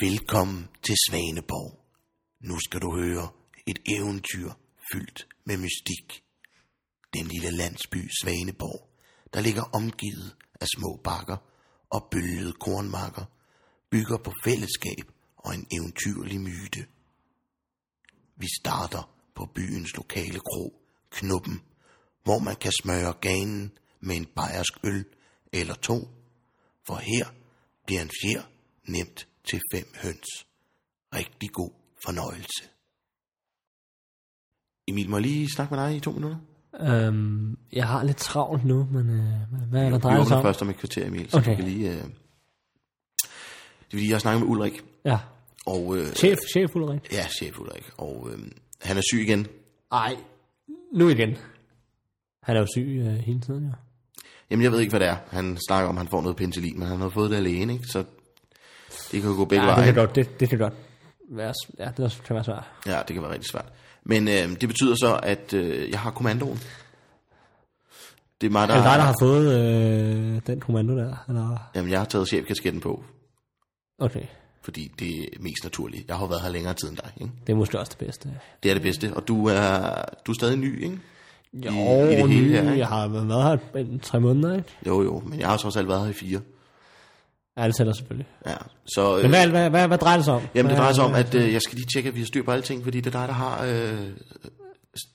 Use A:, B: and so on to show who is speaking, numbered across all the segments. A: Velkommen til Svaneborg. Nu skal du høre et eventyr fyldt med mystik. Den lille landsby Svaneborg, der ligger omgivet af små bakker og bølgede kornmarker, bygger på fællesskab og en eventyrlig myte. Vi starter på byens lokale kro, Knuppen, hvor man kan smøre ganen med en bajersk øl eller to, for her bliver en fjer nemt til fem høns. Rigtig god fornøjelse. Emil, må jeg lige snakke med dig i to minutter?
B: Øhm, jeg har lidt travlt nu, men øh, hvad er der
A: Vi
B: drejer sig
A: åbner
B: om?
A: først om et kvarter, Emil, så
B: Okay.
A: okay. kan lige... Øh... Det er fordi, jeg har snakket med Ulrik,
B: Ja.
A: og... Øh...
B: Chef, chef Ulrik.
A: Ja, chef Ulrik, og øh... han er syg igen.
B: Ej, nu igen. Han er jo syg øh, hele tiden, jo.
A: Jamen, jeg ved ikke, hvad det er. Han snakker om, at han får noget penicillin, men han har fået det alene, ikke? Så det kan jo gå begge
B: Ja, det
A: veje.
B: kan godt, det, det kan godt være, s- ja, det kan være svært.
A: Ja, det kan være rigtig svært. Men øh, det betyder så, at øh, jeg har kommandoen. Det er mig, der,
B: Er det dig, der har fået øh, den kommando der? Eller?
A: Jamen, jeg har taget chefkasketten på,
B: Okay,
A: fordi det er mest naturligt. Jeg har jo været her længere tid end dig, ikke?
B: det er måske også det bedste.
A: Det er det bedste. Og du er, du er stadig ny, ikke?
B: Jo,
A: i det hele her, ikke?
B: jeg har været her i tre måneder, ikke?
A: Jo, jo, men jeg har trods alt været her i fire.
B: Ja, det tæller selvfølgelig.
A: Ja, så...
B: Men
A: Øh,
B: hvad, hvad, hvad, hvad drejer det sig om?
A: jamen, det
B: Hvad-
A: drejer sig om, at øh, jeg skal lige tjekke, at vi har styr på alting, fordi det er dig, der har øh,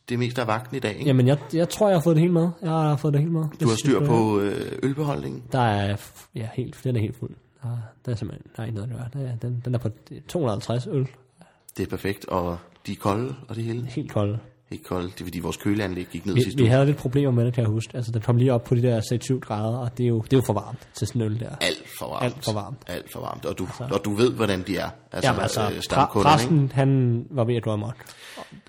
A: det meste af vagten i dag, ikke?
B: Jamen, jeg, jeg tror, jeg har fået det hele med. Jeg har fået det hele med.
A: Du har styr på øh, ølbeholdningen.
B: Der er, f- ja, helt, den er helt fuld. Der, der er simpelthen, der er ikke noget at gøre. Der, er- den, den er på 250 øl.
A: Det er perfekt, og de er kolde, og det hele.
B: Helt kold.
A: Ikke kolde, det er fordi vores køleanlæg gik ned
B: Vi,
A: sidste
B: vi
A: uge.
B: havde lidt problemer med det, kan jeg huske. Altså, den kom lige op på de der 6-7 grader, og det er jo, det er jo for varmt til sådan en øl der.
A: Alt for varmt.
B: Alt for varmt.
A: Alt for varmt. Og du, altså, og du ved, hvordan de er. Altså,
B: Jamen, altså,
A: øh,
B: præ-
A: stamkunderne, ikke?
B: præsten, han var ved at gå amok.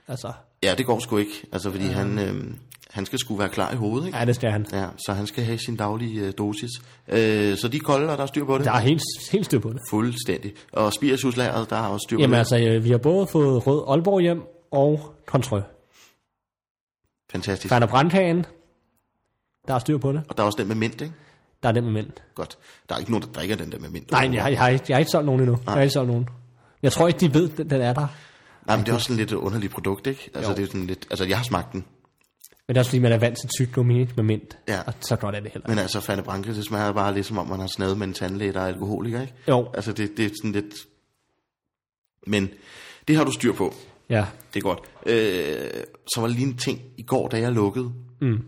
B: Altså,
A: Ja, det går sgu ikke. Altså, fordi han, øh, han skal sgu være klar i hovedet, ikke?
B: ja, det skal han.
A: Ja, så han skal have sin daglige øh, dosis. Øh, så de er kolde, og der er styr på det?
B: Der er helt, helt styr på det.
A: Fuldstændig. Og spirituslageret, der er også styr på
B: Jamen
A: det.
B: altså, øh, vi har både fået Rød Aalborg hjem og Kontrø. altså,
A: Fantastisk.
B: Ferner Brandhagen, der er styr på det.
A: Og der er også den med mint, ikke?
B: Der er den med mænd.
A: Godt. Der er ikke nogen, der drikker den der med mint.
B: Nej, jeg, jeg, har ikke, jeg har ikke solgt nogen endnu. Jeg har ikke solgt nogen. Jeg tror ikke, de ved, den, den er der.
A: Nej, men det er også sådan lidt et underligt produkt, ikke? Altså,
B: Jo.
A: det er sådan lidt, altså jeg har smagt den.
B: Men det er også fordi, man er vant til tyggegummi ikke? med mint.
A: Ja.
B: Og så godt er det heller.
A: Men altså, Fanny Branke, det smager bare lidt som om, man har snadet med en tandlæge, der er alkoholiker, ikke?
B: Jo.
A: Altså, det, det er sådan lidt... Men det har du styr på.
B: Ja.
A: Det er godt. Øh, så var der lige en ting i går, da jeg lukkede.
B: Mm.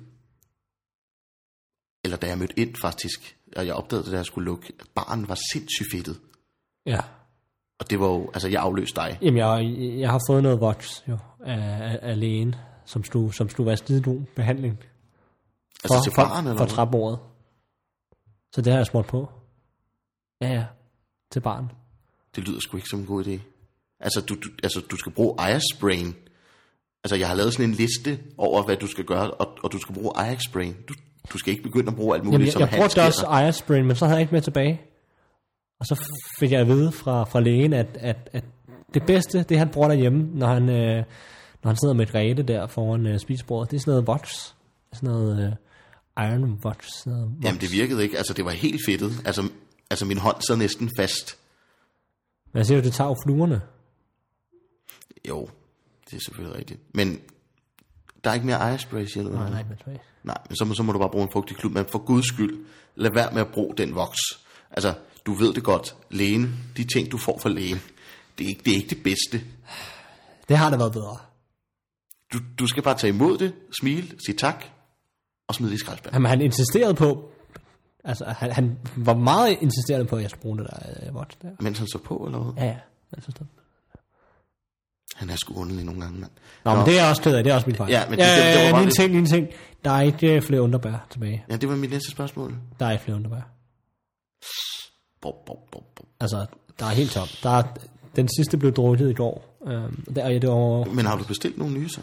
A: Eller da jeg mødte ind, faktisk. Og jeg opdagede, det, da jeg skulle lukke. at Baren var sindssygt fedtet.
B: ja.
A: Og det var jo... Altså, jeg afløste dig.
B: Jamen, jeg, jeg har fået noget voks jo, af, af, af lægen, som skulle, som skulle være skidegod behandling
A: Altså,
B: for,
A: til baren,
B: for,
A: eller
B: for
A: hvad?
B: træbordet. Så det har jeg smurt på. Ja, ja. Til barn.
A: Det lyder sgu ikke som en god idé. Altså du, du, altså, du skal bruge Eyersprain. Altså, jeg har lavet sådan en liste over, hvad du skal gøre, og, og du skal bruge Eyersprain. Du, du skal ikke begynde at bruge alt muligt,
B: Jamen, jeg,
A: som
B: jeg
A: han
B: brugte
A: sker.
B: også Eyersprain, men så havde jeg ikke mere tilbage. Og så fik jeg at vide fra, fra lægen, at, at, at det bedste, det han bruger derhjemme, når han, øh, når han sidder med et ræte der foran øh, spisebordet, det er sådan noget voks. Sådan noget øh, iron voks. Sådan noget voks.
A: Jamen, det virkede ikke. Altså, det var helt fedtet. Altså, altså min hånd sad næsten fast.
B: Men jeg siger jo, det tager jo fluerne.
A: Jo, det er selvfølgelig rigtigt. Men der er ikke mere Eyersprain, siger du?
B: Nej, nej, men tilbage.
A: Nej, men så, må- så må du bare bruge en fugtig klud. Men for guds skyld, lad være med at bruge den voks. Altså, du ved det godt. Lægen, de ting, du får fra lægen, det er ikke det, er ikke det bedste.
B: Det har da været bedre.
A: Du, du skal bare tage imod det, smile, sige tak, og smide det i skraldespanden.
B: Jamen, han insisterede på, altså han, han var meget insisterende på, at jeg skulle bruge det der øh, voks der.
A: Mens han så på, eller hvad?
B: Ja, Altså, ja. Jeg synes det.
A: Han er sgu underlig nogle gange, mand.
B: Nå, Nå, men det er jeg også ked af, det er også min fejl.
A: Ja, men det- det- det var bare
B: øh,
A: lidt-
B: ting, lige en ting. Der er ikke øh, flere underbær tilbage.
A: Ja, det var mit næste spørgsmål.
B: Der er ikke flere underbær.
A: Bop, bop, bop, bop.
B: Altså, der er helt tom. Der er, den sidste blev drukket i går. Øhm, der, ja, det var
A: Men har du bestilt nogle nye så?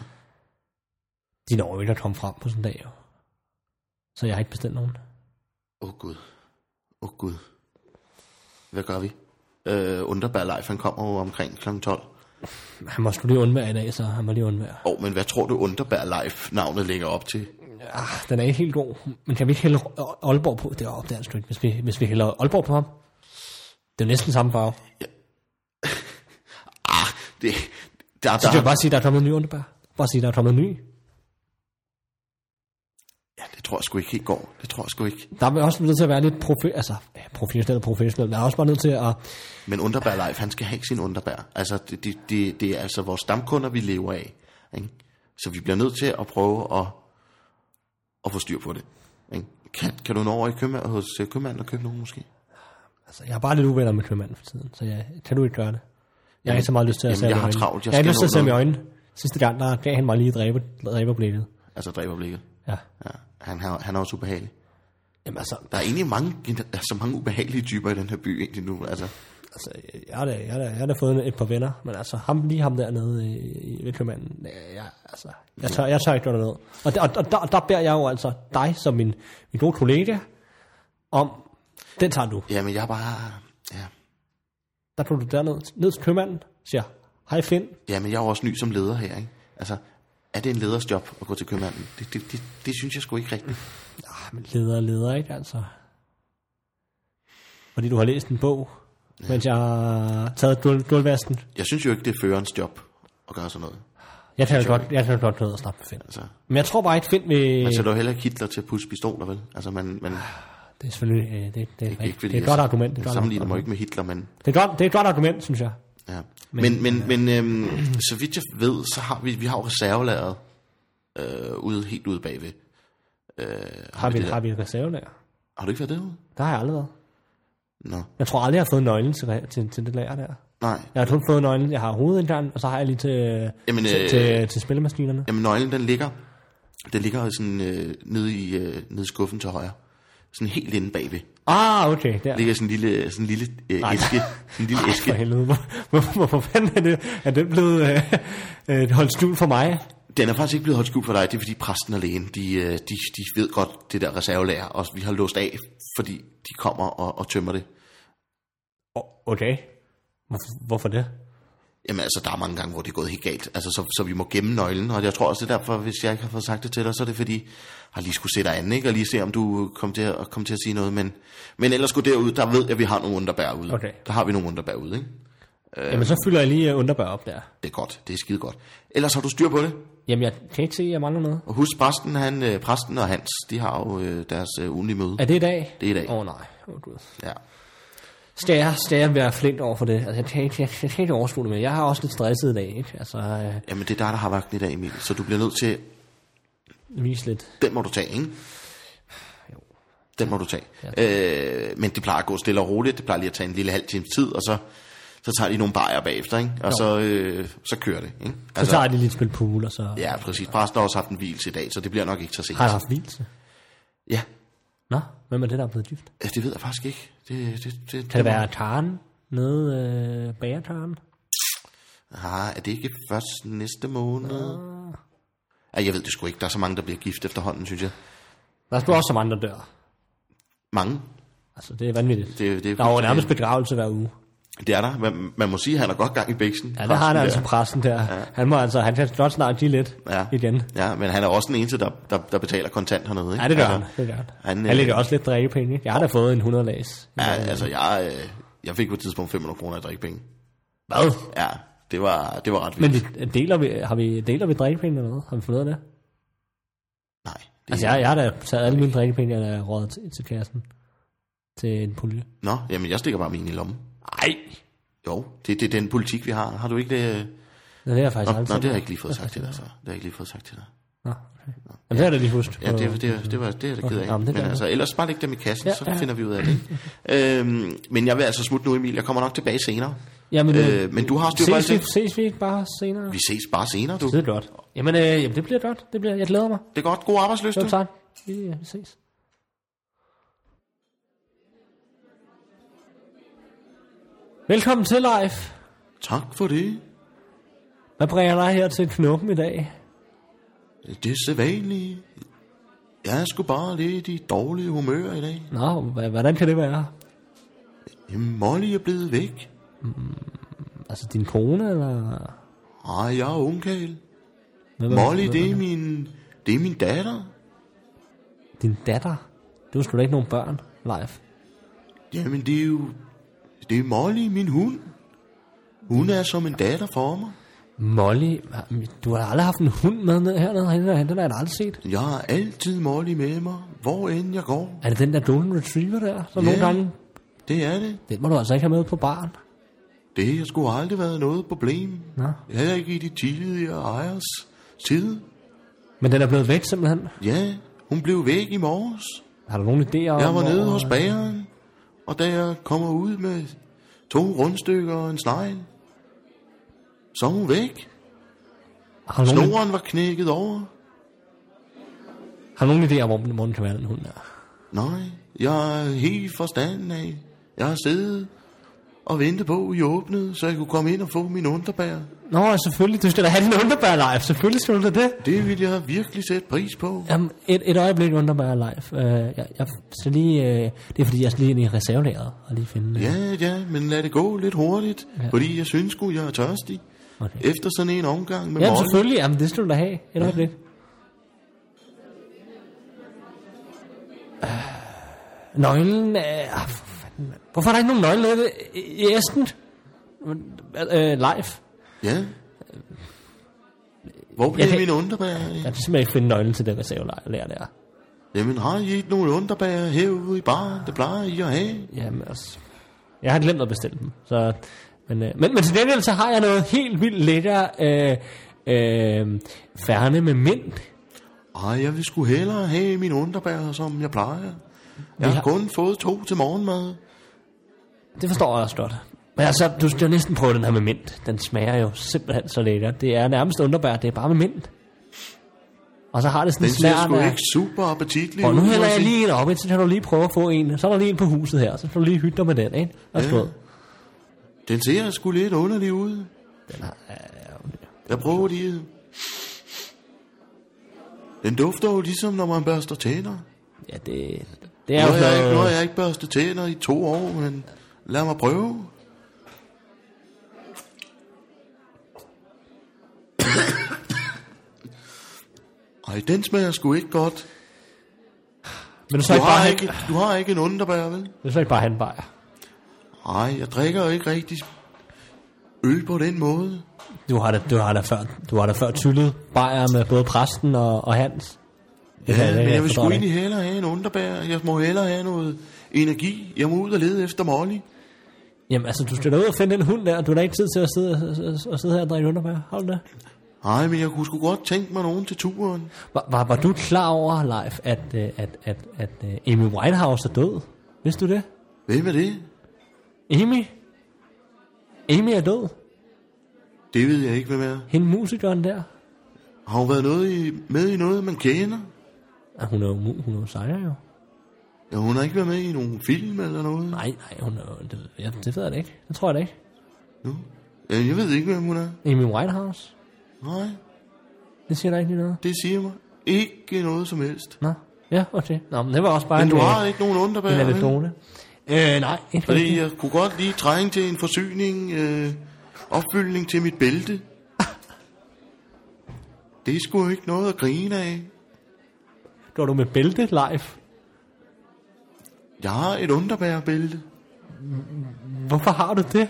B: de når jo ikke at komme frem på sådan en dag. Jo. Så jeg har ikke bestilt nogen.
A: Åh oh, gud. Åh oh, gud. Hvad gør vi? Øh, Underbær Leif, han kommer jo omkring kl. 12. Åh,
B: Han må skulle lige undvære i dag, så han må lige undvære.
A: oh, men hvad tror du Underbær Leif navnet ligger op til?
B: Ah, den er ikke helt god. Men kan vi ikke hælde Aalborg på? Det opdager han sgu ikke, hvis vi, hvis vi hælder Aalborg på ham. Det er jo næsten samme farve.
A: Ah, Det, der,
B: Så
A: der,
B: kan jeg bare sige, der er kommet en ny underbær. Bare sige, der er kommet en ny.
A: ja, det tror jeg sgu ikke helt går. Det tror jeg sgu ikke.
B: Der er man også nødt til at være lidt profe- altså, ja, professionel og professionel. Man er også bare nødt til at...
A: Men underbær Leif, han skal have sin underbær. Altså, det, det, det, det er altså vores stamkunder, vi lever af. Ikke? Så vi bliver nødt til at prøve at, at få styr på det. Ikke? Kan, kan du nå over i købmand, hos øh, købmanden og købe nogen måske?
B: Altså, jeg er bare lidt uvenner med købmanden for tiden, så jeg, kan du ikke gøre det? Jeg har ikke så meget lyst til at
A: jamen,
B: se ham i
A: jeg har
B: øjnene.
A: travlt. Jeg
B: Jeg, jeg har
A: skal
B: lyst til at
A: nå
B: se ham i øjnene. Sidste gang, der gav han mig lige dræber, dræberblikket.
A: Altså dræberblikket.
B: Ja.
A: Ja, han, har, han er også ubehagelig.
B: Jamen altså,
A: Der er egentlig mange, der er så mange ubehagelige typer i den her by egentlig nu. Altså,
B: altså jeg, har da, jeg, har da, jeg har da fået et par venner, men altså ham, lige ham dernede i, i ved købmanden, ja, jeg, altså, jeg tør, jeg tør ikke gøre noget. Og, der- og, og der, der beder jeg jo altså dig som min, min gode kollega om, den tager du.
A: jamen jeg er bare... Ja.
B: Der tog du derned, ned til købmanden, siger, hej Finn,
A: Jamen jeg er jo også ny som leder her, ikke? Altså, er det en leders job at gå til købmanden? Det, det, det, det synes jeg sgu ikke rigtigt.
B: Ah, men leder og leder, ikke altså? Fordi du har læst en bog, ja. mens jeg har taget gul- gulvvasken.
A: Jeg synes jo ikke, det er førerens job at gøre sådan noget.
B: Jeg kan jo godt, jeg kan jo godt noget at snakke med Finn.
A: Altså,
B: Men jeg tror bare ikke, Finn vil...
A: man sætter jo heller ikke Hitler til at pusse pistoler, vel? Altså, man, man
B: Det er selvfølgelig... øh, Det, det, det,
A: ikke,
B: det,
A: fordi
B: det er et
A: jeg
B: godt argument. Det er, et godt
A: sammenligner mig jo
B: argument.
A: ikke med Hitler, men...
B: Det, er et godt, det er et godt argument, synes jeg.
A: Ja. Men, men, men øhm, så vidt jeg ved, så har vi, vi har jo reservelageret øh, ude, helt ude bagved. Øh,
B: Har vi, har vi et reservelager?
A: Har du ikke været derude?
B: Der har jeg aldrig været.
A: Nå,
B: Jeg tror aldrig, jeg har fået nøglen til, re- til, til det lager der.
A: nej.
B: Jeg har kun fået nøglen, jeg har hovedindgangen, og så har jeg lige til,
A: Jamen,
B: til,
A: øh,
B: til, til spillemaskinerne.
A: Jamen nøglen, den ligger, den ligger sådan øh, nede i øh, nede i skuffen til højre. Sådan helt inde bagved.
B: Ah, okay. Der.
A: Der ligger sådan en lille, sådan en lille øh, æske. Sådan en lille æske.
B: For helvede, hvor, hvor, hvorfor fanden er, det, er den blevet øh, øh, holdt skjult for mig?
A: Den er faktisk ikke blevet holdt skjult for dig, det er fordi præsten og lægen, de, øh, de, de ved godt det der reservelærer, og vi har låst af, fordi de kommer og, og tømmer det.
B: O- Okay. Hvorfor, hvorfor det?
A: Jamen altså, der er mange gange, hvor det er gået helt galt, altså, så, så vi må gemme nøglen, og jeg tror også, det er derfor, hvis jeg ikke har fået sagt det til dig, så er det fordi, jeg har lige skulle se dig an, ikke? og lige se, om du kom til at, kom til at sige noget, men, men ellers gå derud, der ved jeg, at vi har nogle underbær ude.
B: Okay.
A: Der har vi nogle underbær ude, ikke?
B: Øh. Jamen, så fylder jeg lige øh, underbør op der.
A: Det er godt, det er skide godt. Ellers har du styr på det,
B: Jamen, jeg kan ikke se, at jeg mangler noget.
A: og husk præsten, han, øh, præsten og Hans, de har jo øh, deres øh, ugenlige møde.
B: Er det i dag?
A: Det er i dag.
B: Åh, oh, nej. Oh, Gud.
A: Ja.
B: Skal jeg, skal jeg være flint over for det? Altså, jeg kan, ikke- jeg, jeg kan ikke overskue det mere. Jeg har også lidt stresset i dag, ikke? Altså, øh,
A: Jamen, det er dig, der har vagten i dag, Emil, så du bliver nødt til
B: vise lidt.
A: Den må du tage, ikke? Den må du tage. Øh, men det plejer at gå stille og roligt. Det plejer lige at tage en lille halv times tid, og så, så tager de nogle bajer bagefter, ikke? Og så, øh, så kører det, ikke?
B: Så
A: Altså,
B: tager jeg lige lidt spil pool, og så ja.
A: ja, præcis. Præsten har også haft en hvilelse i dag, så det bliver nok ikke så sent.
B: har jeg haft hvilse.
A: Ja,
B: Nå, hvem er det, der er blevet gift?
A: altså, det ved jeg faktisk ikke. Det, det, det,
B: Kan det være Karen? Nede øh, bagertaren?
A: Ah, er det ikke først næste måned? Ah, jeg ved det sgu ikke. Der er så mange, der bliver gift efterhånden, synes jeg.
B: Der er sgu også så mange, der dør.
A: Mange.
B: Altså, det er vanvittigt.
A: Det, det,
B: Der er jo nærmest begravelse hver uge.
A: det er der. Man, man må sige, at han har godt gang i bæksen.
B: Ja, det har han
A: Præsten
B: altså
A: der.
B: præsten der. Ja. Han må altså, han kan godt snart give lidt ja. igen.
A: Ja, men han er også den eneste, der, der, der betaler kontant hernede. Ikke?
B: Ja, det gør han.
A: altså,
B: Det gør han.
A: han,
B: Han,
A: øh,
B: han lægger også lidt drikkepenge. Jeg har da fået en 100 lags.
A: Ja, altså, jeg, øh, jeg fik på et tidspunkt 500 kroner i drikkepenge.
B: Hvad?
A: Ja, det var, det var ret
B: Men
A: vildt.
B: vi, deler, vi, har vi, deler vi drikkepenge eller noget? Har vi fundet ud af det?
A: Nej, det,
B: Altså, jeg, jeg har da taget alle mine drikkepenge, jeg har rådet til, til kassen. Til en pulje.
A: Nå, jamen, jeg stikker bare min i lommen.
B: Ej!
A: Jo, det, det er den politik, vi har. Har du ikke det?
B: Nå, det har jeg faktisk
A: Nå,
B: aldrig
A: det har
B: tænkt.
A: jeg ikke lige fået sagt til dig, så. Det har jeg ikke lige fået sagt til dig.
B: Nå, okay. Jamen, det har jeg da lige husket.
A: Ja, det, det, det var det, jeg ked
B: Okay,
A: af.
B: jamen, det
A: Men
B: gør
A: altså, ellers bare læg dem i kassen,
B: Ja,
A: så
B: ja.
A: finder vi ud af det. øhm, men jeg vil altså smutte nu, Emil. Jeg kommer nok tilbage senere.
B: Jamen, øh,
A: Øh, men du har styr på alt
B: ses, vi,
A: det.
B: ses vi ikke bare senere?
A: Vi ses bare senere, du.
B: Det er godt. Jamen, øh, jamen, det bliver godt. Det bliver, jeg glæder mig.
A: Det er godt. God arbejdsløst,
B: Jo,
A: du.
B: tak. Vi øh, ses. Velkommen til, Leif.
A: Tak for det.
B: Hvad bringer dig her til knuppen i dag?
A: Det er sædvanligt. Jeg er sgu bare lidt i dårlig humør i dag.
B: Nå, hva- hvordan kan det være?
A: Jamen, Molly er blevet væk.
B: Altså, din kone, eller...
A: Ej, jeg er ungkæl.
B: Hvad, hvad-
A: Molly,
B: hvad-
A: det er min, det er min datter.
B: Din datter? Du har sgu da ikke nogen børn, Leif.
A: Jamen, det er jo... Det er Molly, min hund. Hun er som en datter for mig.
B: Molly, du har aldrig haft en hund med ned hernede, hende der, den har jeg da aldrig set.
A: Jeg har altid Molly med mig, hvor end jeg går.
B: Er det den der Golden Retriever der, som
A: Ja.
B: nogle gange,
A: Det er det.
B: den må du altså ikke have med på baren.
A: Det har sgu aldrig været noget problem.
B: Nå.
A: Heller ikke i de tidligere ejers side.
B: Men den er blevet væk simpelthen.
A: Ja, hun blev væk i morges.
B: Har du nogen idéer om,
A: Jeg var nede
B: hvor-
A: hos bageren, og da jeg kommer ud med to rundstykker og en snegl, så er hun væk.
B: Har du nogen,
A: Snoren var knækket over.
B: har du nogen idéer om, hvor den- hvor den kan være, den hund der?
A: Nej, jeg er helt forstanden af. Jeg har siddet og ventet på, at I åbnede, så jeg kunne komme ind og få min underbær.
B: Nå, selvfølgelig, du skal da have din underbær live, selvfølgelig skal du da det.
A: Det ville jeg virkelig sætte pris på.
B: Jamen, et, et øjeblik underbær live. Uh, jeg, jeg skal lige, uh, det er fordi, jeg skal lige ind i reservelæret og lige finde uh,
A: Ja, ja, men lad det gå lidt hurtigt, ja. fordi jeg synes sgu, jeg er tørstig.
B: Okay.
A: Efter sådan en omgang med
B: Jamen
A: Molly.
B: selvfølgelig, jamen, det skal du da have. Et øjeblik. Øh, Nøglen er... ah, for fanden, mand. Hvorfor er der ikke nogen nøgle nede i- i æsken? Øh, live.
A: Ja. Hvor blev
B: Jeg kan-
A: min underbær af?
B: Jeg kan simpelthen ikke finde nøglen til den reservelærer der.
A: Jamen har I ikke nogen underbær herude i baren? Det plejer I at have.
B: Jamen altså... Jeg har glemt at bestille dem, så... Men, øh, men, men til gengæld så har jeg noget helt vildt lækker øh, øh, færne med mint.
A: Ej, jeg vil sgu hellere have min underbær, som jeg plejer. Jeg har
B: har-
A: kun fået to til morgenmad.
B: Det forstår jeg også godt. Men altså, du skal jo næsten prøve den her med mint. Den smager jo simpelthen så lækkert. Det er nærmest underbær, det er bare med mint. Og så har det sådan
A: Den
B: en snært
A: ser
B: af...
A: sgu ikke super appetitlig
B: Og nu
A: ud, må
B: hælder jeg
A: sige.
B: lige en op, så kan du lige prøve at få en. Så er der lige en på huset her, så kan du lige hytte dig med den, ikke? Og
A: Ja.
B: ja.
A: Den ser sgu lidt underlig ud.
B: Den har, ja,
A: Jeg prøver lige. Den dufter jo ligesom, når man børster tænder.
B: ja, det, det er
A: Nu
B: jo
A: har jeg,
B: sådan
A: ikke, nu har
B: noget...
A: jeg ikke børstet tænder i to år, men lad mig prøve. Ej, den smager sgu ikke godt.
B: Men du så
A: Du
B: ikke
A: har
B: bare,
A: ikke, du har ikke en underbær, vel?
B: du så ikke bare handbajer.
A: Nej, jeg drikker jo ikke rigtig øl på den måde.
B: Du har da, du har da før, du har da før tyllet bajer med både præsten og, og Hans. Det kan
A: Ja, men
B: ikke
A: jeg vil
B: forstå
A: sgu
B: det ikke.
A: egentlig hellere have en underbær. Jeg må hellere have noget energi. Jeg må ud og lede efter Molly.
B: Jamen altså, du skal da ud og finde den hund der. Du har da ikke tid til at sidde, og, og sidde her og drikke underbær. Har du det?
A: Nej, men jeg kunne sgu godt tænke mig nogen til turen.
B: Var, var, var du klar over, Leif, at, øh, at, at, at øh, Amy Whitehouse er død? Vidste du det?
A: Hvem er det?
B: Amy? Amy er død.
A: Det ved jeg ikke, hvem er.
B: Hende musikeren der.
A: Har hun været noget i, med i noget, man kender?
B: Ah, hun er jo, mu- hun er jo sejr jo.
A: Ja, hun har ikke været med i nogen film eller noget.
B: Nej, nej, hun er jo, det, ja, det ved jeg da ikke. Det tror jeg da ikke.
A: Nu. Ja, jeg ved ikke, hvem hun er.
B: Amy Whitehouse?
A: Nej,
B: Det siger der ikke lige noget.
A: det siger mig ikke noget som helst.
B: Nå, ja, okay. Nå, men det var også bare
A: Men du
B: en, øh,
A: har ikke nogen
B: en
A: underbær, vel?
B: anekdote. Øh, nej, ikke
A: Fordi
B: rigtigt.
A: jeg kunne godt lige trænge til en forsyning, øh, opfyldning til mit bælte. Det er sgu ikke noget at grine af.
B: Går du med bælte, Leif?
A: Jeg har et underbærbælte.
B: Hvorfor har du det?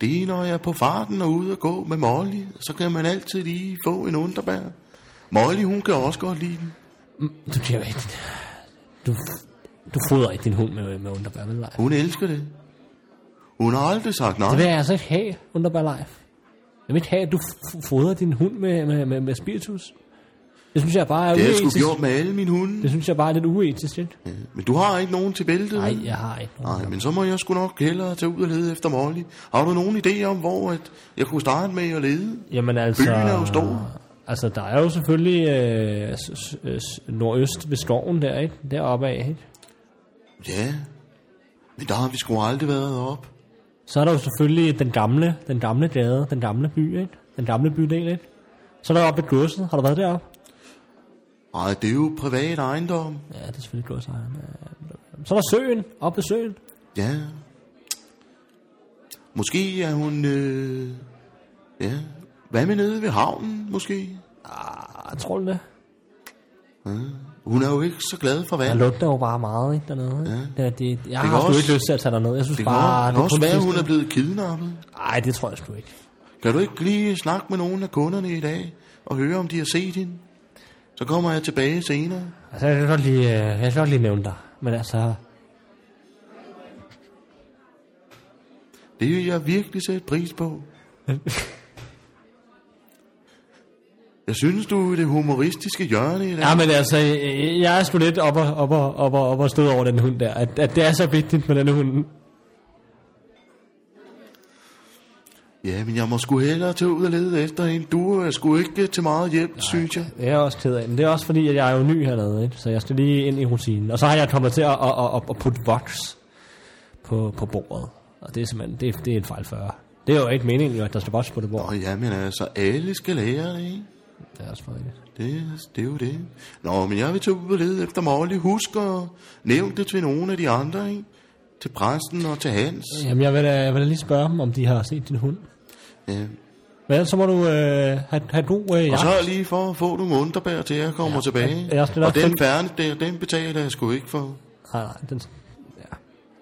A: Det er, når jeg er på farten og ude og gå med Molly, så kan man altid lige få en underbær. Molly, hun kan også godt lide den.
B: Du kan jo ikke... Du, du fodrer ikke din hund med, med underbær, vel, Leif?
A: Hun elsker det. Hun har aldrig sagt
B: Det
A: nej.
B: vil jeg altså ikke have, Underbar Life. Jeg vil ikke have, at du f- fodrer din hund med, med, med, med spiritus. Det synes jeg bare er
A: Det har jeg sgu
B: uetisk.
A: gjort med alle mine hunde.
B: Det synes jeg bare er lidt uetisk, ikke?
A: Men du har ikke nogen til bæltet?
B: Nej, jeg har ikke nogen.
A: Nej, men så må jeg sgu nok hellere tage ud og lede efter Molly. Har du nogen idé om, hvor at jeg kunne starte med at lede?
B: Jamen altså...
A: Byen er jo stor.
B: Altså, der er jo selvfølgelig øh, s- s- øh, s- nordøst ved skoven der, ikke? Deroppe af, ikke?
A: Ja, men der har vi sgu aldrig været op.
B: Så er der jo selvfølgelig den gamle, den gamle gade, den gamle by, ikke? Den gamle bydel, ikke? Så er der oppe ved godset. Har du været deroppe?
A: Ej, det er jo privat ejendom.
B: Ja, det er selvfølgelig godsejeren. Så er der søen, oppe ved søen.
A: Ja. Måske er hun... Øh... Ja. Hvad med nede ved havnen, måske?
B: Ah, tror du det?
A: Hun er jo ikke så glad for
B: Der
A: vand.
B: lugter jo bare meget, ikke, dernede. Ja. Det, det, jeg har
A: kan
B: sgu
A: også-
B: ikke lyst til at tage derned. Jeg synes
A: Det
B: det
A: kan
B: bare...
A: også- også
B: kun
A: være,
B: trist.
A: hun er blevet kidnappet.
B: Ej, det tror jeg sgu ikke.
A: Kan du ikke lige snakke med nogen af kunderne i dag og høre, om de har set hende? Så kommer jeg tilbage senere.
B: Altså, jeg kan godt lige, øh, jeg kan godt lige nævne dig. Men altså,
A: Det vil jeg virkelig sætte pris på. Jeg synes, du er det humoristiske hjørne i dag.
B: ja, men altså, øh, jeg er sgu lidt op og, op og, op og, op og stød over den hund der. At, at det er så vigtigt med den hund.
A: Ja, men jeg må sgu hellere tage ud og lede efter hende. Du er sgu ikke til meget hjælp, Nej. synes jeg.
B: Det er jeg også ked af. Men det er også fordi, at jeg er jo ny hernede, ikke? så jeg skal lige ind i rutinen. Og så har jeg kommet til at, at, at, at, at putte voks på, på bordet. Og det er simpelthen, det, er- det er en fejl 40. Det er jo ikke meningen, jo, at der skal voks på det bord.
A: Nå, jamen altså, alle skal lære det, ikke?
B: Det er også for rigtigt.
A: Det, det er jo det. Nå, men jeg vil tage ud og lede efter Molly. Husk at nævne det til nogen af de andre, ikke? Til præsten og til Hans.
B: Jamen, jeg vil, da, jeg vil da lige spørge dem, om de har set din hund.
A: Ja.
B: Men ellers så må du øh, have, have en god øh,
A: Og
B: jagt.
A: så lige for at få nogle underbær til jeg kommer ja, tilbage.
B: jeg skal nok
A: og den
B: finde-
A: færne der, den betaler jeg sgu ikke for.
B: Nej, nej, den... Ja.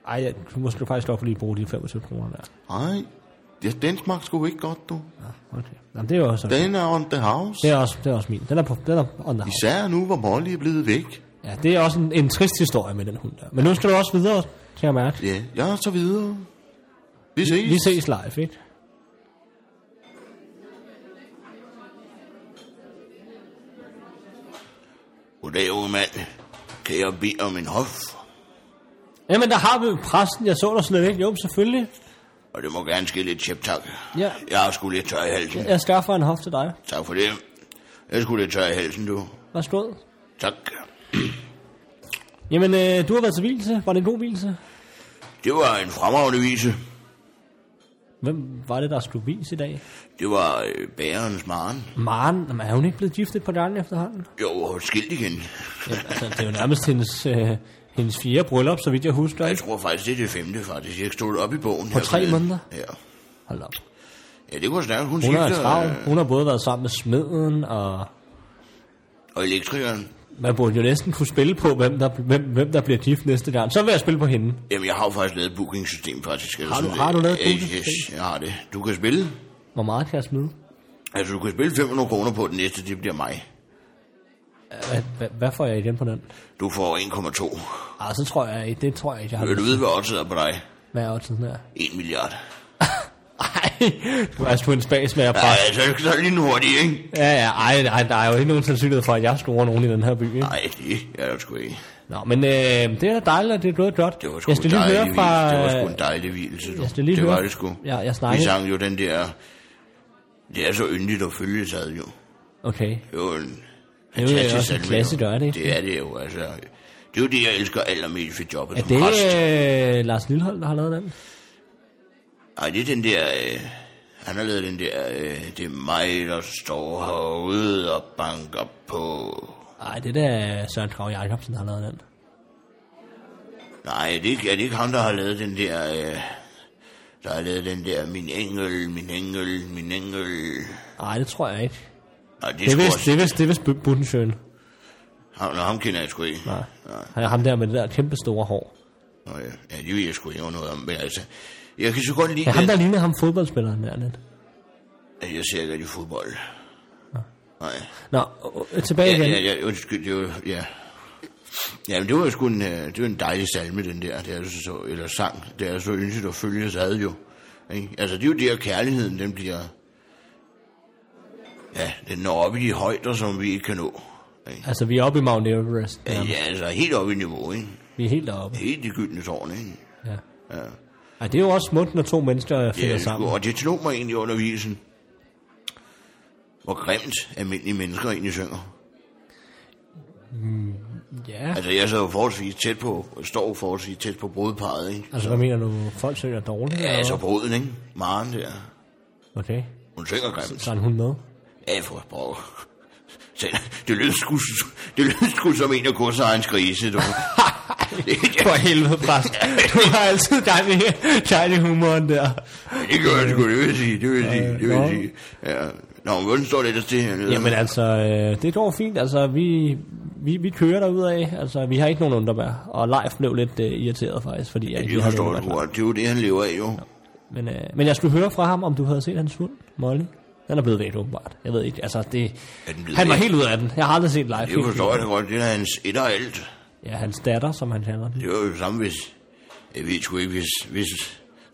B: Ej, jeg, du måske du faktisk godt for lige bruge de 25 kroner der.
A: Nej, ja, den smagte sgu ikke godt, du.
B: Ja, okay. Jamen, det er jo også...
A: Den er on the house.
B: Det er også, det er også min. Den er på... Den er on the house.
A: Især nu, hvor Molly er blevet væk.
B: Ja, det er også en, en trist historie med den hund der. Men nu skal du også videre, kan jeg mærke.
A: Ja, jeg er så videre. Vi ses.
B: Vi ses live, ikke?
A: Goddag, unge mand. Kan jeg bede om en hof?
B: Jamen, der har vi jo præsten. Jeg så dig slet ikke. Jo, selvfølgelig.
A: Og det må gerne ske lidt chiptak.
B: Ja.
A: Jeg er sgu lidt tør i halsen.
B: Jeg skaffer en hof til dig.
A: Tak for det. Jeg er sgu lidt tør i halsen, du.
B: Værsgo.
A: Tak.
B: Jamen, øh, du har været til hvilelse. Var det en god hvilelse?
A: Det var en fremragende vise.
B: Hvem var det, der skulle vise i dag?
A: Det var øh, bærens maren.
B: Maren, jamen, er hun ikke blevet gift et par gange efterhånden?
A: Jo, og skilt igen.
B: Jamen, altså, det er jo nærmest hendes, øh, hendes fjerde bryllup, så vidt jeg husker.
A: Jeg
B: Ikke?
A: tror faktisk, det er det femte, faktisk. Jeg stod op i bogen.
B: På
A: her
B: tre
A: forleden.
B: måneder?
A: Ja.
B: Hold op.
A: Ja, det går snart. Hun
B: Hun har
A: skifter,
B: travlt.
A: øh,
B: Hun har både været sammen med smeden, og
A: øh, Og elektrikeren.
B: man burde jo næsten kunne spille på, hvem der, hvem, hvem der bliver gift næste gang. Så vil jeg spille på hende.
A: Jamen, jeg har jo faktisk lavet et bookingsystem, faktisk.
B: Har du- har du lavet et
A: et Yes,
B: bookingsystem?
A: jeg har det. Du kan spille.
B: Hvor meget kan jeg smide?
A: Altså, du kan spille 500 kroner på den næste, det bliver mig.
B: Hvad, hvad, hvad får jeg igen på den?
A: Du får 1,2.
B: Ah, så tror jeg ikke. Det tror jeg ikke, jeg har.
A: Vil du
B: lyst
A: vide, hvad oddset er på dig?
B: til. Hvad er oddsen her?
A: 1 milliard.
B: Ej,
A: altså
B: du er sgu en spas med at
A: Nej,
B: presse.
A: så så er det altså, lige hurtigt, ikke?
B: Ja, ja, ej, ej, der er jo ikke nogen sandsynlighed for, at jeg scorer nogen i den her by. Ikke?
A: Nej, det er der sgu ikke.
B: Nå, men øh, det er da dejligt, at det er gået godt.
A: Det var sgu
B: jeg skal
A: en
B: lige
A: dejlig
B: høre fra...
A: hvil- Det var sgu en dejlig hvilelse, du.
B: Jeg skal lige
A: det var
B: høre-
A: det sgu.
B: Ja, jeg
A: Vi
B: snakkede-
A: sang jo den der... Det er så yndigt at følge sig, jo.
B: Okay,
A: Det er jo en
B: jo
A: fantastisk
B: også en
A: salme,
B: klassiker, er det ikke?
A: Det er det jo, altså. Det er jo det, jeg elsker allermest ved jobbet
B: er
A: som
B: det
A: præst.
B: øh, Lars Lillehold, der har lavet den?
A: Ej, det er den der... Øh, han har lavet den der... Øh, det er mig, der står herude og banker på...
B: Nej, det der Søren Krav Jacobsen, der har lavet den.
A: Nej, det er, ikke, er det ikke ham, der har lavet den der... Øh, der har lavet den der... Min engel, min engel, min engel...
B: Nej, det tror jeg ikke.
A: Nej, det er
B: Det er
A: sgu
B: vist,
A: også...
B: det er vist, det er vist Bu- Budensjøen.
A: Ham, nå, ham kender jeg sgu ikke.
B: Nej. Han er ham der med det der kæmpe store hår.
A: Nå, ja. ja, det ved jeg sgu ikke noget om, men altså... Jeg kan så godt lide
B: Ja, ham
A: den.
B: der ligner ham fodboldspilleren der lidt.
A: Jeg ser ikke rigtig fodbold. Nej.
B: Nå, øh, tilbage
A: Ja,
B: igen.
A: ja, ja, undskyld, det var, ja. Ja, men det var jo sgu en, øh, det var en dejlig salme, den der, det er jo så, eller sang. Det er så yndigt at følge sig ad jo. Ikke? Altså, det er jo der, kærligheden, den bliver... Ja, den når op i de højder, som vi ikke kan nå. Ikke?
B: Altså, vi er oppe i Mount Everest.
A: Ja,
B: Ja.
A: ja altså, helt op i niveau, ikke?
B: Vi er helt oppe.
A: Helt i gyldne tårn, ikke?
B: Ja.
A: Ja.
B: Ej, det er jo også smukt, når to mennesker øh, finder
A: Ja,
B: sammen.
A: sgu, og det slog mig egentlig under visen. Hvor grimt almindelige mennesker egentlig synger.
B: Ja.
A: Altså, jeg sad jo forholdsvis tæt på, står jo forholdsvis tæt på brudparret, ikke?
B: Altså, hvad mener du? Folk synger dårligt?
A: Ja,
B: eller
A: altså
B: hvad?
A: bruden, ikke? Maren der.
B: Okay.
A: Hun synger grimt.
B: Så er hun med.
A: Ja, for pokker. Så Det lød sgu, det lød sgu som en af kursejernes grise, du. det,
B: For helvede, præst. Du har altid gang i, gang i humoren der.
A: det gør jeg sgu, det vil jeg sige, det vil jeg sige, det vil jeg
B: nå.
A: sige. Ja. Nå, men hvordan står det ellers til hernede?
B: Jamen altså, øh, det går fint. Altså, vi, vi, vi kører derud af. Altså, vi har ikke nogen underbær. Og Leif blev lidt øh, irriteret faktisk, fordi jeg
A: Det
B: havde
A: forstår
B: nogen
A: du
B: underbær.
A: godt. Det er jo det, han lever af, jo.
B: Men, øh, men jeg skulle høre fra ham, om du havde set hans hund, Molly. Den er blevet væk, åbenbart. Jeg ved ikke, altså det...
A: Er den blevet
B: Han var
A: væk?
B: helt ud af den. Jeg har aldrig set live.
A: Det forstår jeg da godt. Det er hans et og alt.
B: Ja, hans datter, som han kalder den.
A: Det var jo det samme, hvis... Jeg ved sgu ikke, hvis... hvis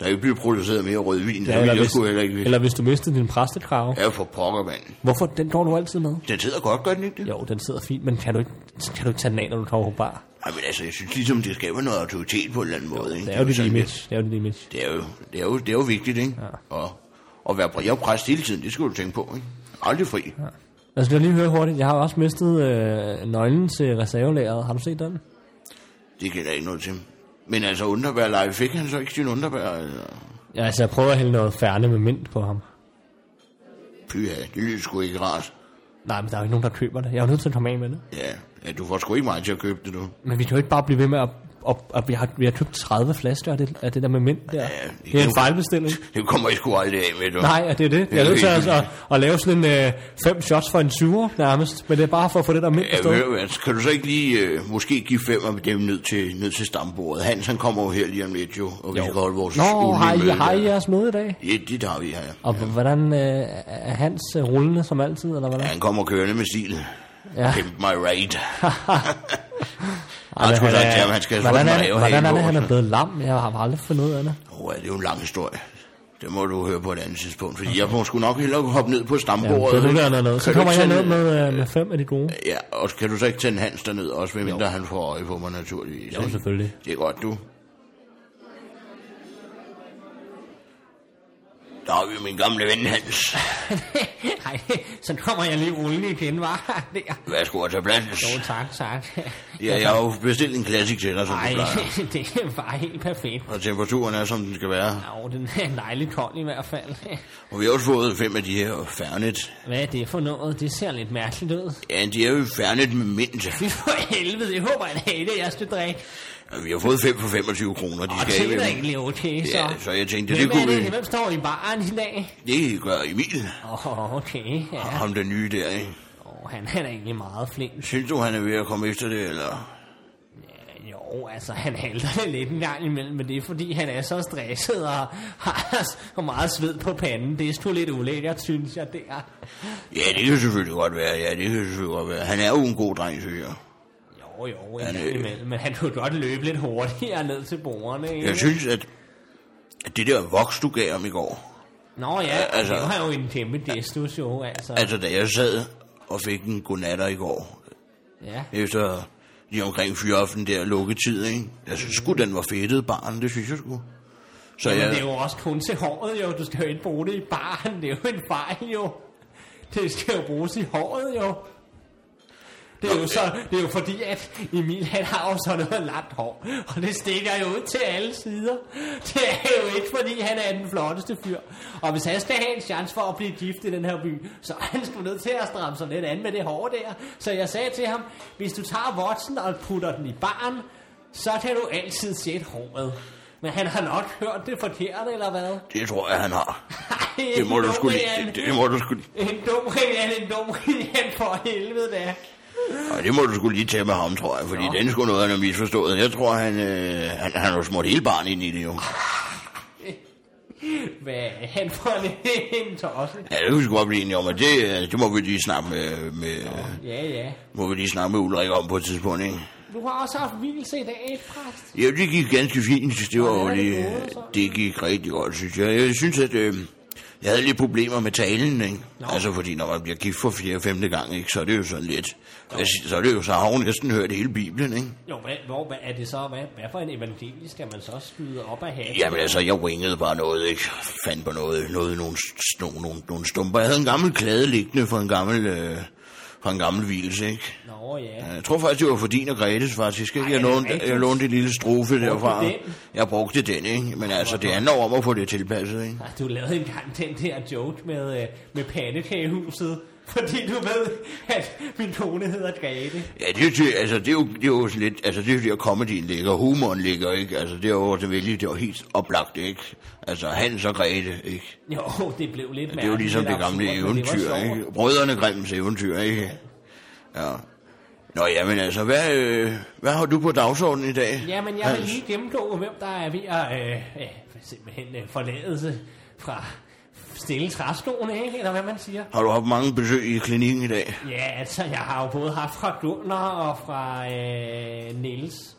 A: der ikke blev produceret mere rødvin, så
B: Ja,
A: ville
B: eller,
A: jeg
B: hvis,
A: sgu heller ikke...
B: eller hvis du mistede din præstekrave. Ja.
A: Ja, for pokker, mand.
B: Hvorfor? Den går du altid med.
A: Den sidder godt, gør den ikke det?
B: Jo, den sidder fint, men kan du ikke, kan du ikke tage den af, når du kommer på bar?
A: Ej, men altså, jeg synes ligesom, det skaber noget autoritet på en eller anden måde, ikke?
B: Det er jo dit
A: sådan lidt-
B: image. Det er jo dit image.
A: Det er jo, det er jo, det er jo vigtigt, ikke? Ja. Og, og være præ- jeg er præst hele tiden, det skal du tænke på, ikke? Aldrig fri. Ja.
B: Jeg skal Altså, lige høre hurtigt. Jeg har også mistet øh, nøglen til reservelæret. Har du set den?
A: Det kan der ikke noget til. Men altså, underbær live, fik han så ikke sin underbær? Eller?
B: Ja, altså, jeg prøver at hælde noget færne med mint på ham.
A: Pyha, det lyder sgu ikke rart.
B: Nej, men der er jo ikke nogen, der køber det. Jeg er jo nødt til at komme af med det.
A: Ja, ja du får sgu ikke meget til at købe det, du.
B: Men vi kan jo ikke bare blive ved med at... Og, og vi, har, vi har købt 30 flasker af det, af det der med mint der. Ja,
A: det
B: det er en
A: kan-
B: fejlbestilling.
A: Det kommer jeg sgu aldrig af med, du.
B: Nej, og det er det. Jeg er nødt til
A: helt
B: altså at, at lave sådan en øh, fem shots for en syver nærmest. Men det er bare for at få det der mint på
A: Jeg
B: stå.
A: hører, altså, kan du så ikke lige øh, måske give fem af dem ned til, ned til stambordet? Hans, han kommer jo her lige om lidt, jo, og vi skal holde vores
B: Nå,
A: ugenlige
B: har I,
A: møde
B: har I
A: der.
B: jeres møde i dag?
A: Ja, det har vi, ja.
B: Og hvordan øh, er hans øh, rullende som altid, eller hvordan?
A: Ja, Han kommer kørende med stil.
B: Ja.
A: Ja. Pimp my ride.
B: Ej,
A: han skulle
B: men
A: sagt til
B: er-
A: ham, han skal
B: hvordan
A: slå
B: er,
A: den
B: det,
A: af og
B: hvordan er
A: have
B: det,
A: en
B: han er
A: lort.
B: blevet lam? Jeg har aldrig fundet ud af det.
A: Åh, ja, det er jo en lang historie. Det må du høre på et andet tidspunkt, fordi jeg må sgu nok hellere hoppe ned på
B: Ja, det
A: stambordet.
B: er du der er noget. Så kommer jeg ned
A: med...
B: med, øh, med fem af de gode.
A: Ja, og kan du så ikke tænde Hans derned også, medmindre han får øje på mig naturligvis?
B: Jo,
A: ikke?
B: selvfølgelig.
A: Det er godt, du. Der har vi jo min gamle ven Hans.
B: Nej, så kommer jeg lige rullende igen, var der.
A: Værsgo at tage plads.
B: Jo, tak, tak.
A: Ja, jeg har jo bestilt en klassik til dig, som
B: Nej,
A: du plejer.
B: det var helt perfekt.
A: Og temperaturen er, som den skal være.
B: Jo, den er dejligt kold i hvert fald.
A: Og vi har også fået fem af de her færnet.
B: Hvad er det for noget? Det ser lidt mærkeligt ud.
A: Ja, de er jo færnet med mint.
B: Vi for helvede, jeg håber, at det er jeg skal drikke.
A: Og vi har fået fem for 25 kroner, de
B: Og
A: skal
B: det er da
A: have.
B: egentlig okay, så.
A: Ja, så jeg tænkte, det
B: Hvem, er
A: kunne
B: det?
A: vi...
B: Hvem står i baren i dag?
A: Det gør Emil.
B: Åh, oh, okay, ja.
A: Ja. Ham den nye der, ikke?
B: Oh, han er da egentlig meget flink.
A: Synes du, han er ved at komme efter det, eller?
B: Jo, altså han halter det lidt en gang imellem, men det er fordi, han er så stresset og har så meget sved på panden. Det er sgu lidt ulækkert, synes jeg, det er.
A: Ja, det kan selvfølgelig godt være. Ja, det kan selvfølgelig godt være. Han er jo en god dreng, synes jeg.
B: Jo, jo, en
A: Han,
B: gang
A: øh,
B: imellem, men han kunne godt løbe lidt hurtigere ned til bordene, ikke?
A: Jeg synes, at, at det der voks, du gav ham i går,
B: Nå ja,
A: Ja, altså-
B: altså, det var jo en kæmpe gestus jo, altså.
A: altså da jeg sad og fik en godnatter i går,
B: Ja.
A: efter lige omkring fyraften der lukketid, ikke? Jeg synes sgu, den var fedtet, barn, det synes jeg sgu. Så
B: Men det er
A: jeg,
B: jo også kun til håret jo, du skal jo ikke bruge det i baren, det er jo en fejl jo. Det skal jo bruges i håret jo. Det er jo, så, det er jo fordi, at Emil han har jo sådan noget langt hår, og det stikker jo ud til alle sider. Det er jo ikke fordi, han er den flotteste fyr. Og hvis han skal have en chance for at blive gift i den her by, så er han sgu nødt til at stramme sig lidt an med det hår der. Så jeg sagde til ham, hvis du tager voksen og putter den i baren, så kan du altid sætte håret. Men han har nok hørt det forkert, eller hvad?
A: det tror jeg, han har.
B: Ej,
A: Det må
B: en
A: du
B: dum
A: sgu
B: Jan.
A: lige. Det, det må du sgu lige.
B: En dum Rian, en dum Rian for helvede da.
A: Ej, det må du skulle lige tage med ham, tror jeg, fordi den er sgu noget, han har misforstået. Jeg tror, han, øh, han, han har smurt hele barnet ind i det, jo.
B: Hvad er han for en tosse?
A: Ja, det kunne vi sgu godt blive enige om, og det, øh, det må vi lige snakke med, med,
B: Ja, ja.
A: må vi lige snakke med Ulrik om på et tidspunkt, ikke?
B: Du har også haft hvilelse i dag, ikke, præst?
A: Ja, det gik ganske fint, det var
B: Hvordan
A: jo
B: er det
A: lige,
B: gået, så?
A: det gik rigtig godt, synes jeg. Jeg synes, at øh, jeg havde lidt problemer med talen, ikke? Altså, fordi når man bliver gift for fjerde femte gang, ikke, så er det jo sådan lidt, altså, så er det jo, så har hun næsten hørt hele Bibelen, ikke?
B: Jo, hvad, hvor, hvad er det så? Hvad, hvad for en evangelie skal man så skyde op af hatten?
A: Jamen altså, jeg wingede bare noget, ikke? Fandt på noget, noget nogle, s- nogle, nogle, nogle stumper. Jeg havde en gammel klade liggende fra en gammel, øh, fra en gammel hvilse, ikke?
B: Nå ja.
A: Jeg tror faktisk, det var for din og Gretes, faktisk. Ikke?
B: Ej,
A: Jeg,
B: er det
A: lånte,
B: rigtigt?
A: jeg lånte en lille strofe derfra.
B: den?
A: Jeg brugte den, ikke? Men altså, det handler om at få det tilpasset, ikke?
B: Ej, Du lavede engang den der joke med, øh, med pandekagehuset, fordi du ved, at min kone hedder Grete.
A: Ja, det er, jo ty- altså, det er, jo, det er jo sådan lidt... Altså, det er jo der, comedyen ligger, humoren ligger, ikke? Altså, det er jo det vælge, det er jo helt oplagt, ikke? Altså, Hans og Grete, ikke?
B: Jo, det blev lidt mærkeligt.
A: Det er jo ligesom
B: lidt
A: det gamle
B: absurd, men det var
A: eventyr,
B: sjovt.
A: ikke? Brødrene Grimms eventyr, ikke? Ja. Nå, jamen altså, hvad, øh, hvad har du på dagsordenen i dag?
B: Jamen, jeg vil lige gennemgå, hvem der er ved at øh, øh, simpelthen øh, forladelse fra stille træstolen, ikke? eller hvad man siger.
A: Har du haft mange besøg i klinikken i dag?
B: Ja, altså, jeg har jo både haft fra Gunnar og fra øh, Niels.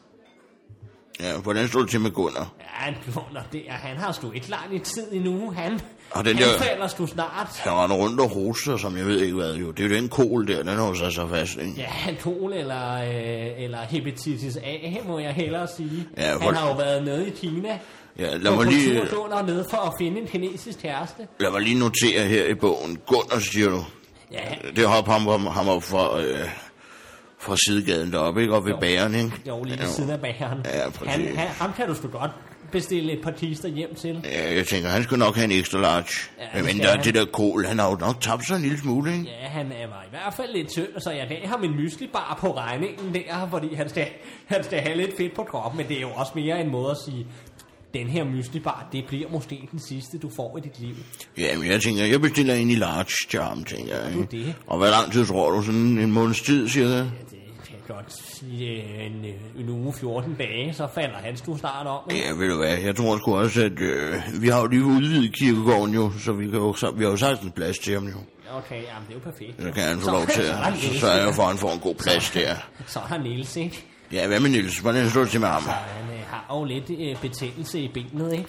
A: Ja, hvordan står det til med Gunnar?
B: Ja, Gunnar, det er, han har sgu ikke lang i tid endnu. Han,
A: Og den
B: han
A: der-
B: falder sgu snart.
A: Han render rundt og hoster, som jeg ved ikke hvad jo. Det er jo den kol der, den har sig så fast, ikke?
B: Ja, alkohol eller, øh, eller hepatitis A, må jeg hellere sige.
A: Ja,
B: han
A: hold-
B: har jo været nede i Kina.
A: Ja, lad
B: på
A: mig lige-
B: kulturtur dernede for at finde en kinesisk kæreste.
A: Lad mig lige notere her i bogen. Gunnar, siger du.
B: Ja,
A: Det hop ham, ham, ham op fra, øh, fra sidegaden deroppe, ikke? Og ved bageren, ikke?
B: Jo, lige ved
A: ja,
B: siden af bageren.
A: Ja, præcis.
B: Han, han, ham kan du sgu godt bestille et par tister hjem til.
A: Ja, jeg tænker, han skulle nok have en ekstra large.
B: Ja,
A: Ja,
B: det
A: Men
B: skal
A: der er
B: han.
A: det der kål, han har jo nok tabt sig en lille smule, ikke?
B: Ja, han er- var i hvert fald lidt tynd, så jeg gav ham en myslibar på regningen der, fordi han skal, han skal have lidt fedt på kroppen, men det er jo også mere en måde at sige, den her myslibar, det bliver måske den sidste, du får i dit liv.
A: Ja, men jeg tænker, jeg bestiller en i large til ham, tænker jeg. Ikke?
B: det.
A: Og hvor lang tid tror du? Sådan en måneds tid, siger jeg.
B: Ja, det kan jeg godt sige, øh, en, øh, en uge 14 dage, så falder han sgu snart om. ikke?
A: Ja, ved du hvad, jeg tror sgu også, at øh, vi har jo lige udvidet kirkegården jo, så vi, kan jo, så, vi har jo sagtens plads til ham jo.
B: Okay, jamen det er jo perfekt.
A: Så kan han få
B: Så-
A: lov til,
B: så er der
A: så,
B: Niels.
A: så er jeg for, at han får en god plads der.
B: Så er der Niels, ikke?
A: Ja, hvad med Niels? Hvordan står det til med ham?
B: Og han øh, har jo lidt øh, betændelse i benet, ikke?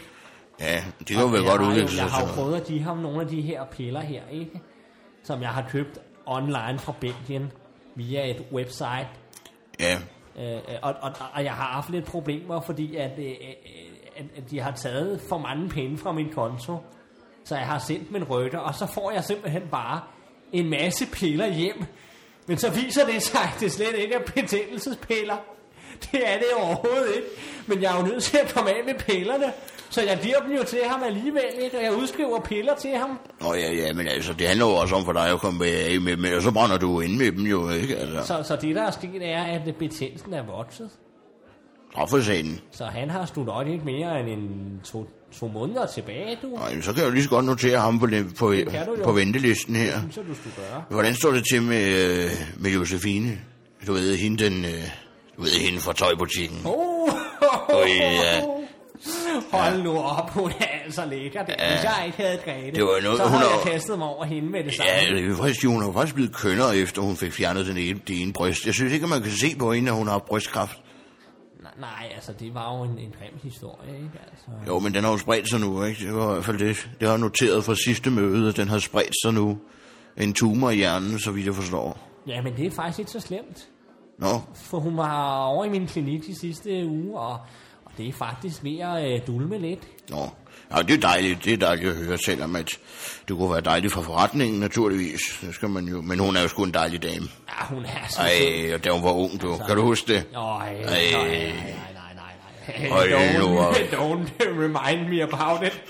A: Ja, det kan jo være
B: Jeg
A: godt
B: har jo-
A: udvikle sig
B: Jeg
A: til
B: har jo
A: noget.
B: prøvet at give ham nogle af de her piller her, ikke? Som jeg har købt online fra Belgien via et website.
A: Ja,
B: Øh, og, og, og jeg har haft lidt problemer, fordi at, øh, øh, at, at de har taget for mange penge fra min konto. Så jeg har sendt min rytter, og så får jeg simpelthen bare en masse piller hjem. Men så viser det sig, at det slet ikke er betændelsespiller. Det er det overhovedet ikke. Men jeg er jo nødt til at komme af med pillerne. Så jeg giver dem jo til ham alligevel, ikke? og jeg udskriver piller til ham.
A: Nå ja, ja, men altså, det handler jo også om for dig at komme med, af med dem, og så brænder du jo ind med dem jo, ikke? Altså,
B: Så, så det, der er sket, er, at betændelsen er vokset.
A: straffescenen.
B: Så han har sgu nok ikke mere end en to, to måneder tilbage, du.
A: Nå, jamen, så kan jeg jo lige så godt notere ham på, den- på,
B: kan du jo.
A: på ventelisten her.
B: synes jeg, du skulle gøre.
A: Hvordan står det til med, øh, med Josefine? Du ved, hende den... Øh, du ved, hende fra tøjbutikken.
B: Oh,
A: Øj, ja.
B: Hold nu op, hun er altså lækker. Det, Hvis jeg ikke havde Grete,
A: Det var noget,
B: så
A: hun
B: havde
A: har-
B: jeg kastet mig over hende med det samme.
A: Ja, det er faktisk, hun har faktisk blevet kønnere, efter hun fik fjernet den ene, det ene bryst. Jeg synes ikke, at man kan se på hende, at hun har brystkræft.
B: Nej, nej, altså, det var jo en, en grim historie, ikke? Altså.
A: Jo, men den har jo spredt sig nu, ikke? Det var i hvert fald det, det har jeg noteret fra sidste møde, at den har spredt sig nu. En tumor i hjernen, så vidt jeg forstår.
B: Ja, men det er faktisk ikke så slemt.
A: Nå,
B: For hun var over i min klinik de sidste uge, og, og det er faktisk ved at øh, dulme lidt.
A: nå. Ja, det er dejligt, det er dejligt at høre, selvom at det kunne være dejligt for forretningen, naturligvis. Det skal man jo. Men hun er jo sgu en dejlig dame.
B: Ja, hun er altså så
A: Ej, og da hun var ung, du. Kan du huske det?
B: Øj, nej,
A: Ej.
B: nej, nej, nej. Hey,
A: Ej, nu var-
B: don't, don't remind me about it.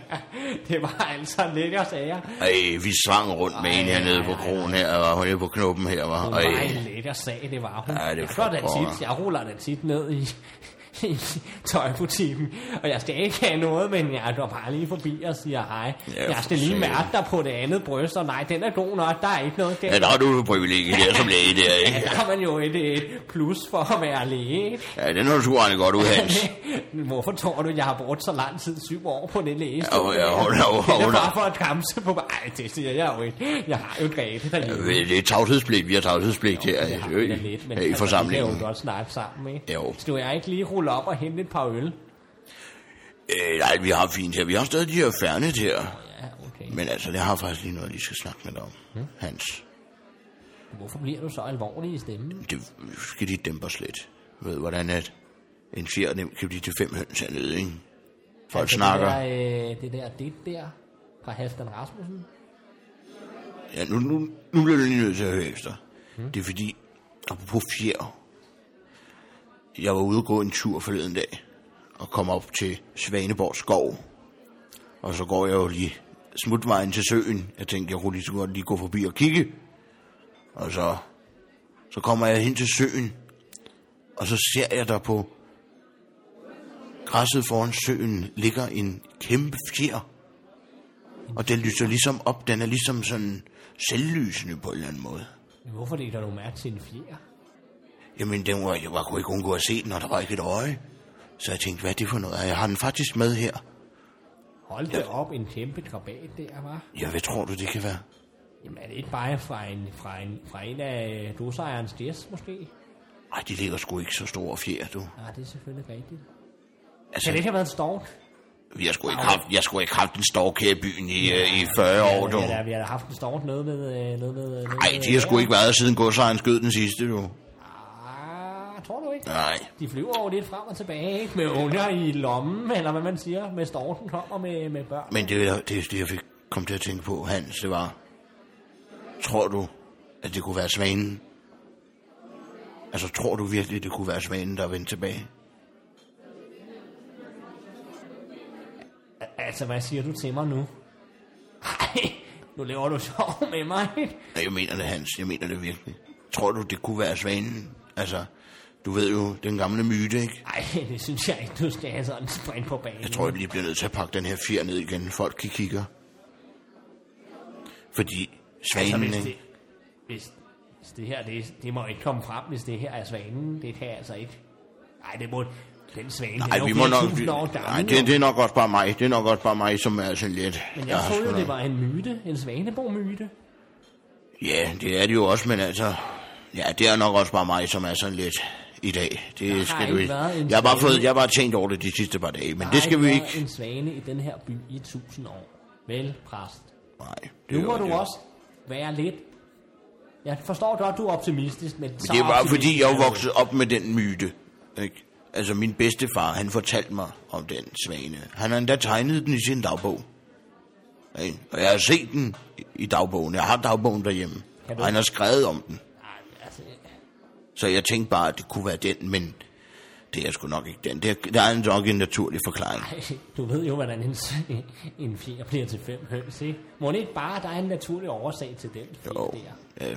B: det var altså lækker sager.
A: Ej, vi sang rundt med en hernede på kronen her, og hun er på knoppen her, var.
B: Hun var
A: Ej,
B: en lækker sag, det var hun.
A: Ej, det er
B: jeg, slår da
A: for
B: tit, jeg ruller da tit ned i, i tøjbutikken, og jeg skal ikke have noget, men jeg går bare lige forbi og siger hej.
A: Ja,
B: jeg
A: for
B: skal lige
A: satan.
B: mærke dig på det andet bryst, og nej, den er god nok, der er ikke noget der.
A: ja, der har du jo privilegiet der som læge der,
B: Ja,
A: ikke?
B: der har man jo et, et plus for at være læge, ikke?
A: Ja, den har du sgu regnet godt ud, Hans.
B: Hvorfor tror du, jeg har brugt så lang tid, syv år på den lægestol?
A: Ja, ja, hold da op,
B: Det er
A: hold da
B: da
A: op.
B: bare for at kamse på mig. Ej, det siger jeg jo ikke. Jeg har jo Grete derhjemme.
A: Ved, Det er tavshedspligt, vi har tavshedspligt her,
B: Jeg har
A: jo,
B: da
A: i,
B: lidt, men
A: her øh, i
B: altså, Vi
A: forsamlingen.
B: kan jo godt snakke sammen, ikke?
A: Jo.
B: Skal jeg ikke lige rulle op og hente et par øl?
A: Øh, nej, vi har fint her. Vi har stadig de her færnet her.
B: Ja, okay.
A: Men altså, det har faktisk lige noget, jeg lige skal snakke med dig om, Hans.
B: Hvorfor bliver du så alvorlig i stemmen?
A: Det skal de dæmpe os lidt. Du ved, hvordan at en fjer nemt kan blive til fem høns hernede, ikke? Folk snakker.
B: Altså, Det der, øh, det der digt der fra Halfdan Rasmussen.
A: Ja, nu, nu, nu bliver du lige nødt til at høre efter. Mm. Det er fordi, apropos fjer, jeg var ude og gå en tur forleden dag, og kom op til Svaneborg skov. Og så går jeg jo lige smutvejen til søen. Jeg tænkte, jeg kunne lige så godt lige gå forbi og kigge. Og så, så kommer jeg hen til søen, og så ser jeg der på græsset foran søen ligger en kæmpe fjer. Og den lyser ligesom op. Den er ligesom sådan selvlysende på en eller anden måde.
B: Hvorfor lægger du mærke til en fjer?
A: Jamen, den var, jeg var, kunne ikke undgå at se den, og der var ikke et øje. Så jeg tænkte, hvad er det for noget? Og Jeg har den faktisk med her.
B: Hold da op, en kæmpe krabat der, var.
A: Ja, hvad tror du, det kan være?
B: Jamen er det ikke bare fra en, fra en, fra en af øh, godsejerens gæst, måske?
A: Ej, de ligger sgu ikke så store fjer, du.
B: Ja, det er selvfølgelig rigtigt.
A: Altså,
B: Kan det ikke have været en stork?
A: vi har sgu ikke haft, jeg skulle ikke haft en stork her i byen i, øh, i 40 år, du.
B: Ja, der, vi har da haft en stork noget med... øh, Noget med noget
A: Nej, de har sgu ikke været siden godsejeren skød den sidste, du.
B: Ah, tror du ikke?
A: Nej.
B: De flyver jo lidt frem og tilbage, ikke? Med unger i lommen, eller hvad man siger, med storken kommer med, med børn.
A: Men det, det, det, jeg fik kom til at tænke på, Hans, det var... Tror du, at det kunne være svanen? Altså, tror du virkelig, det kunne være svanen, der vendte tilbage?
B: Altså, hvad siger du til mig nu? Ej, nu laver du sjov med mig, ikke?
A: Nej, jeg mener det, Hans. Jeg mener det virkelig. Tror du, det kunne være svanen? Altså, du ved jo, den gamle myte, ikke?
B: Ej, det synes jeg ikke, du skal have sådan springe på banen.
A: Jeg tror, jeg lige bliver nødt til at pakke den her fjer ned igen. Folk kan kigge. Fordi
B: altså,
A: svanen,
B: hvis
A: altså,
B: det, hvis, hvis det her, det, det må ikke komme frem, hvis det her er svanen. Det kan jeg altså ikke. Nej, det må... Den svane, den
A: Nej,
B: er
A: vi
B: jo
A: må nok...
B: 4.000 år gammel.
A: Nej,
B: jo.
A: det, det er nok også bare mig. Det er nok også bare mig, som er sådan lidt...
B: Men jeg
A: har
B: troede
A: sgu
B: jo,
A: nok-
B: det var en myte. En svaneborg-myte.
A: Ja, det er det jo også, men altså... Ja, det er nok også bare mig, som er sådan lidt i dag. Det
B: har
A: skal du
B: ikke
A: ikke.
B: været en
A: Jeg har bare
B: svane.
A: fået, jeg har bare tænkt over det de sidste par dage, men
B: Der
A: det
B: har
A: skal vi
B: været
A: ikke.
B: en svane i den her by i 1000 år. Vel, præst.
A: Nej, det
B: Nu
A: er
B: må
A: jo-
B: du
A: det er-
B: også være lidt... Jeg forstår godt, du er optimistisk, men, så
A: Det er bare
B: optimistisk
A: fordi, jeg
B: er
A: er
B: du
A: vokset op med den myte. Ikke? Altså, min bedstefar, han fortalte mig om den svane. Han har endda tegnet den i sin dagbog. Ikke? Og jeg har set den i- i dagbogen. Jeg har dagbogen derhjemme.
B: Kan du-
A: Og han har skrevet om den.
B: ikke. Nej, altså,
A: Så jeg tænkte bare, at det kunne være den, men det er sgu nok ikke den. Det er, der er nok en naturlig forklaring.
B: ej, du ved jo, hvordan en, en fjer bliver til fem høns, ikke? Må det ikke bare, der er en naturlig årsag til den fjer
A: Jo.
B: der?
A: Ja.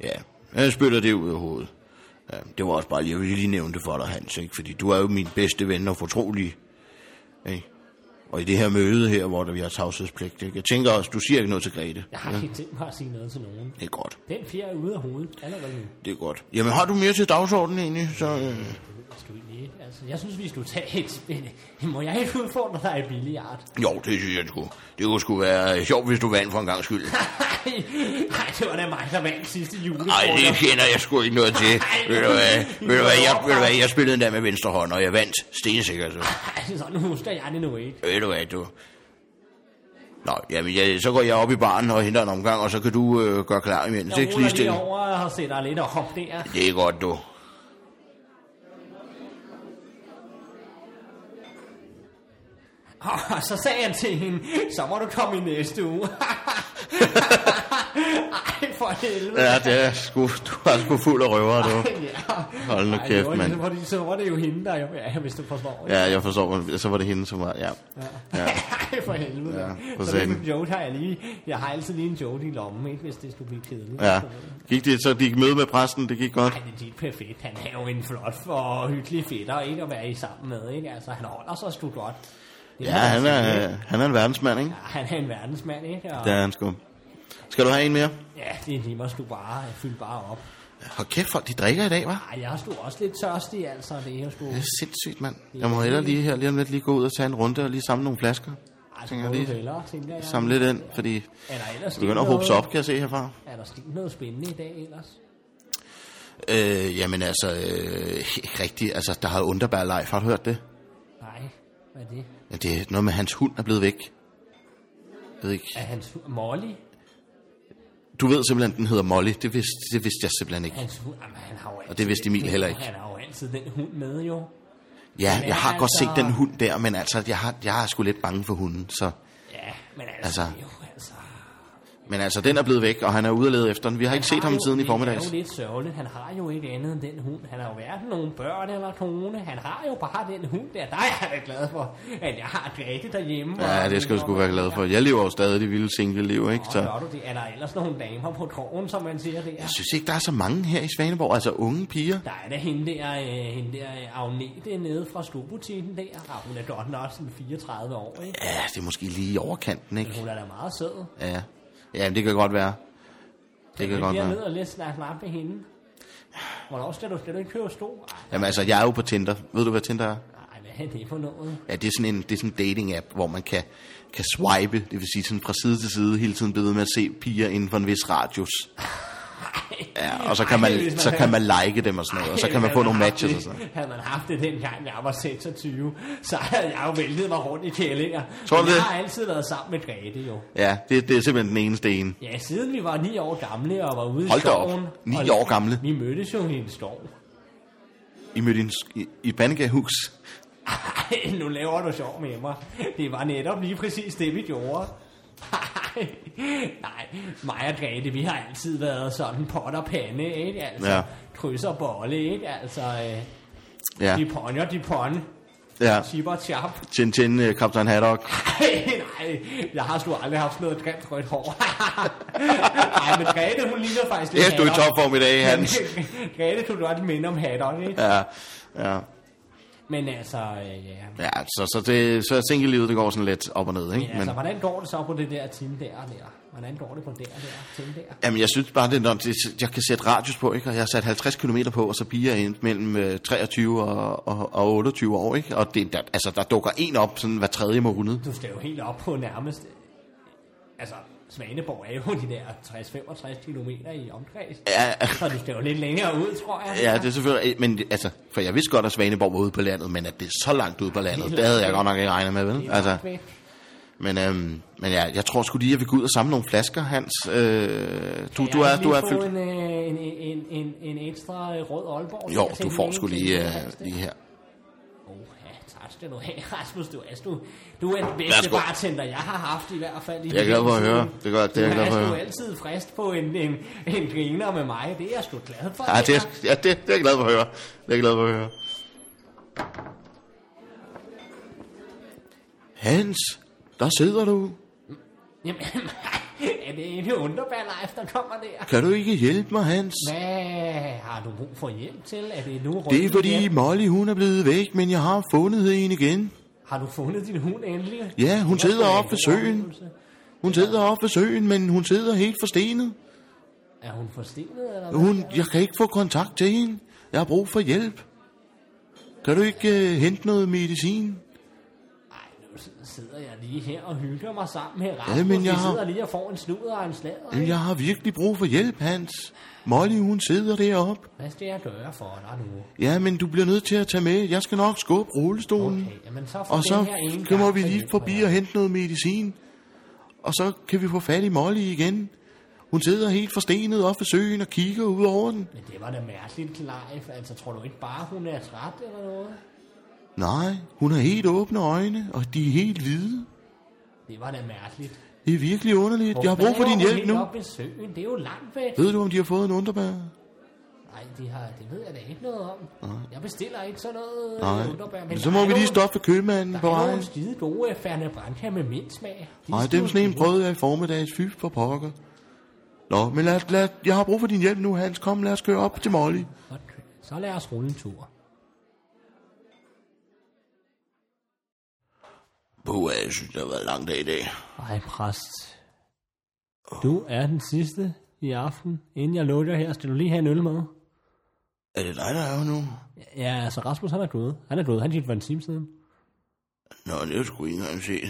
A: ja. Jeg spytter det ud af hovedet. Ja, det var også bare, jeg ville lige nævne det for dig, Hans, ikke? fordi du er jo min bedste ven og fortrolig. Ikke? Og i det her møde her, hvor der, vi har tavshedspligt, ikke? jeg tænker også, du siger ikke noget til Grete.
B: Jeg har ikke tænkt mig at sige noget til nogen.
A: Det er godt,
B: Den fjer er ude af hovedet allerede nu.
A: det er godt. Jamen har du mere til dagsordenen egentlig? Så, øh...
B: Det skal vi lige. Altså, jeg synes, vi skulle tage et spil. Må jeg ikke udfordre dig i billiard?
A: Jo, det synes jeg sgu. Det kunne sgu være sjovt, hvis du vandt for en gang skyld.
B: Nej, nej, det var da mig, der vandt sidste jule.
A: Nej, det kender jeg sgu ikke noget til.
B: Ej,
A: Ved du hvad?
B: I
A: Ved du hvad? Jeg,
B: må
A: ved du hvad? jeg spillede den der med venstre hånd, og jeg vandt stensikkert. Så.
B: Ej, sådan husker jeg det nu ikke.
A: Ved du hvad, du... Nå, jamen, jeg, så går jeg op i baren og henter en omgang, og så kan du øh, gøre klar imens. Ikke
B: Jeg
A: lige
B: ruller lige
A: stille.
B: over og sætter lidt op der.
A: Det er godt, du.
B: Og så sagde jeg til hende, så må du komme i næste uge. Ej, for helvede.
A: Ja, det er sgu, du er sgu fuld af røver, du.
B: Ja.
A: Hold nu
B: Ej, det
A: kæft,
B: var-
A: mand.
B: det var- Så var det jo hende, der... Ja, hvis du forstår.
A: Ja, jeg forstår, så var det hende, som var... Ja.
B: Ja. Ej, for helvede.
A: Ja, for
B: Ja, så
A: satan.
B: den joke har jeg lige... Jeg har altid lige en joke i lommen, ikke, hvis det skulle blive kedeligt.
A: ja. Gik det, så de gik møde med præsten, det gik godt.
B: Ej, det er helt perfekt. Han er jo en flot og hyggelig fætter, ikke at være i sammen med, ikke? Altså, han holder sig sgu godt. Det
A: Ja,
B: må man
A: han er,
B: sige, ikke?
A: øh, han er en verdensmand, ikke?
B: Han er en verdensmand, ikke? Og,
A: Det er han sgu. Skal du have en mere?
B: ja, det er lige mig, du bare fylde bare op.
A: Hold kæft, folk, de drikker i dag, hva'?
B: Ej, jeg er sgu også lidt tørstig, altså. Det er jo sgu...
A: Det er sindssygt, mand. Jeg må hellere lige her lige om lidt lige gå ud og tage en runde og lige samle nogle flasker.
B: Ej, så
A: tænker
B: må
A: jeg
B: du
A: lige.
B: hellere, tænker jeg.
A: Samle lidt ind, fordi
B: Er der ellers
A: det begynder at
B: sket
A: hobe sig
B: noget-
A: op, kan jeg se herfra.
B: Er der sket noget spændende i dag ellers?
A: Øh, jamen altså, øh, ikke rigtigt. Altså, der har Underbær Leif, har du hørt det?
B: Nej, hvad er det?
A: Ja, det er noget med, at hans hund er blevet væk. Jeg ved ikke.
B: Er hans hu- Molly?
A: Du ved simpelthen, den hedder Molly. Det vidste, det vidste jeg simpelthen ikke.
B: Hans hund, jamen, han har jo altid,
A: Og det vidste Emil heller ikke.
B: Han har jo altid den hund med, jo.
A: Ja, jeg har godt set
B: altså-
A: den hund der, men altså, jeg, har, jeg er sgu lidt bange for hunden, så...
B: Ja, men
A: Altså.
B: altså, altså. det er jo altså...
A: Men altså, den er blevet væk, og han er ude at lede efter den. Vi har ikke set ham siden i
B: Det
A: formiddags.
B: er jo lidt sørgeligt. Han har jo ikke andet end den hund. Han har jo hverken nogen børn eller kone. Han har jo bare den hund der. Der er jeg da glad for, at jeg har Grete derhjemme.
A: Ja, det skal du sgu være glad for. Jeg lever jo stadig det vilde single-liv, ikke?
B: Så.
A: Så...
B: Gør du det? Er der ellers nogle damer på krogen, som man siger der?
A: Jeg synes ikke, der er så mange her i Svaneborg, altså unge piger.
B: Der er da hende der, øh, hende der øh, Agnete nede fra skobutikken der. Ah, hun er godt nok sådan 34 år, ikke?
A: Ja, det er måske lige i overkanten, ikke?
B: Hun er da meget sød.
A: Ja, ja men det kan godt være. Det kan
B: Men
A: godt
B: jeg
A: være.
B: ned og lidt snakke med hende. hvornår skal du, skal du ikke købe sko?
A: Jamen altså, jeg er jo på Tinder. Ved du, hvad Tinder er?
B: Nej, hvad er det for noget?
A: Ja, det er sådan en, det er sådan en dating-app, hvor man kan, kan swipe, det vil sige sådan fra side til side, hele tiden blive ved med at se piger inden for en vis radius. Ja, og så kan,
B: Ej, hvis
A: man,
B: man
A: så
B: havde-
A: kan man like dem og sådan noget, og så kan man få nogle matches og sådan noget.
B: Havde man haft det dengang, jeg var 26, så havde jeg jo væltet mig rundt i kællinger.
A: Tror du
B: Men jeg
A: det?
B: har altid været sammen med Grete jo.
A: Ja, det, det er simpelthen den eneste ene.
B: Ja, siden vi var 9 år gamle og var ude
A: Hold
B: i
A: da op.
B: skoven.
A: Ni
B: og
A: år gamle?
B: Vi mødtes jo i en skov.
A: I mødte en, sk- i, i et bandegahus.
B: Ej, nu laver du sjov med mig. Det var netop lige præcis det, vi gjorde. Ej, Nej, mig og Grete, vi har altid været sådan pot og pande, ikke? Altså,
A: Ja.
B: ja. kryds og bolle, ikke? Altså, øh,
A: Ja,
B: de ponjer, de pon,
A: ja.
B: chip og chap.
A: Tjen Tjen, øh, Captain Haddock.
B: Ej, nej, jeg har sgu aldrig haft sådan noget grimt rødt hår. Nej, men Grete, hun ligner faktisk lidt
A: Ja, du er i
B: Haddock.
A: topform i dag, Hans.
B: Grete kunne godt minde om Haddock, ikke?
A: Ja, ja.
B: Men altså, øh, ja.
A: ja så, så, det, så single-livet, det går sådan lidt op og ned,
B: Men,
A: ikke? Men,
B: altså, hvordan går det så på det der team der og der? Hvordan går det på der og der, team der?
A: Jamen, jeg synes bare, det er, når det- jeg kan sætte radius på, ikke? og jeg har sat 50 km på, og så piger ind mellem øh, 23 og, og, og 28 år, ikke? og det, der, altså, der dukker en op sådan hver tredje måned.
B: Du skal jo helt op på nærmest... øh, Altså, Svaneborg er jo de der 60-65 km i omkreds.
A: Ja, altså,
B: Så du skal jo lidt længere ud, tror jeg.
A: ja, det er selvfølgelig, men altså, for jeg vidste godt, at Svaneborg var ude på landet, men at det er så langt ude på landet, det havde jeg godt nok ikke regnet med, vel? Altså,
B: Væk.
A: men øhm, men ja, jeg tror sgu lige, at vi går ud og samle nogle flasker, Hans. Øh, du, du er,
B: Kan jeg
A: du er
B: lige få
A: fyldt.
B: en, øh, en, en, en, en ekstra øh, rød Aalborg.
A: Jo,
B: Jeg kan
A: du
B: se
A: får
B: den
A: sgu
B: ene
A: lige,
B: til den
A: øh,
B: næste.
A: lige her.
B: Åh, ja, tak skal du have, Rasmus. Du er, du, du er den bedste
A: Værsgo.
B: bartender, jeg har haft i hvert fald. I
A: Det er jeg glad for at høre. Det er godt, det er jeg glad for at
B: Du er
A: høre.
B: altid frist på en, en, en griner med mig. Det er jeg sgu glad for.
A: Ja, det,
B: er...
A: er- ja, det, det er jeg glad for at høre. Det er jeg glad for at høre. Hans, der sidder du.
B: Jamen, er det en underbærlejf, der kommer der?
A: Kan du ikke hjælpe mig, Hans?
B: Hvad har du brug for hjælp til? Er det nu
A: Det er
B: rødt
A: fordi
B: igen?
A: Molly, hun er blevet væk, men jeg har fundet en igen.
B: Har du fundet din hund endelig?
A: Ja, hun
B: Det var sgu
A: sidder
B: da en
A: oppe ved
B: god
A: søen.
B: oplevelse.
A: Hun sidder oppe ved søen, men hun sidder helt forstenet.
B: Er hun forstenet, eller hvad?
A: Hun, jeg kan ikke få kontakt til hende. Jeg har brug for hjælp. Kan du ikke uh, hente noget medicin?
B: Ej, nu sidder jeg lige her og hygger mig sammen med Rasmus.
A: Ja, men jeg
B: Vi
A: har-
B: sidder lige og får en sludder og en slader.
A: Jamen, Jeg har virkelig brug for hjælp, Hans. Molly, hun sidder deroppe.
B: Hvad skal jeg gøre for dig nu?
A: Ja, men du bliver nødt til at tage med. Jeg skal nok skubbe rullestolen.
B: Okay, jamen så for
A: Og så
B: den her ene
A: kan- må
B: gang,
A: vi
B: så
A: lige
B: hjælper
A: forbi
B: jeg.
A: og hente noget medicin. Og så kan vi få fat i Molly igen. Hun sidder helt forstenet op ved søen og kigger ud over den.
B: Men det var da mærkeligt, Leif. Altså, tror du ikke bare, hun er træt eller noget?
A: Nej, hun har helt åbne øjne, og de er helt hvide.
B: Det var da mærkeligt.
A: Det er virkelig underligt. Jeg har brug for
B: Hvad
A: din
B: laver
A: hjælp
B: hun helt
A: nu.
B: Op ved søen? Det er jo langt væk.
A: Ved du, om de har fået en underbær?
B: Nej, det, har, det ved jeg da ikke noget om. Jeg bestiller ikke sådan noget.
A: Nej.
B: øh, underbær, men
A: Så
B: der
A: må
B: er
A: vi lige
B: nogle-
A: stoppe ved købmanden på
B: Der er
A: vejen.
B: nogle skide gode øh, Ferne Branca med mint smag. De er
A: Nej,
B: skide
A: dem sådan en
B: gode.
A: prøvede jeg i formiddags. Fy for pokker. Nå, men lad, lad, jeg har brug for din hjælp nu, Hans. Kom, lad os køre op til Molly.
B: Godt. Så lad os rulle en tur.
A: Puh, jeg synes, det har været en lang dag i dag.
B: Ej, præst. Du er den sidste i aften. Inden jeg lukker her, skal du lige have en øl med.
A: Er det dig, der er her nu?
B: Ja, altså Rasmus, han er gået. Han er gået. Han gik for en time siden.
A: Nå, det er jo sgu ikke engang se.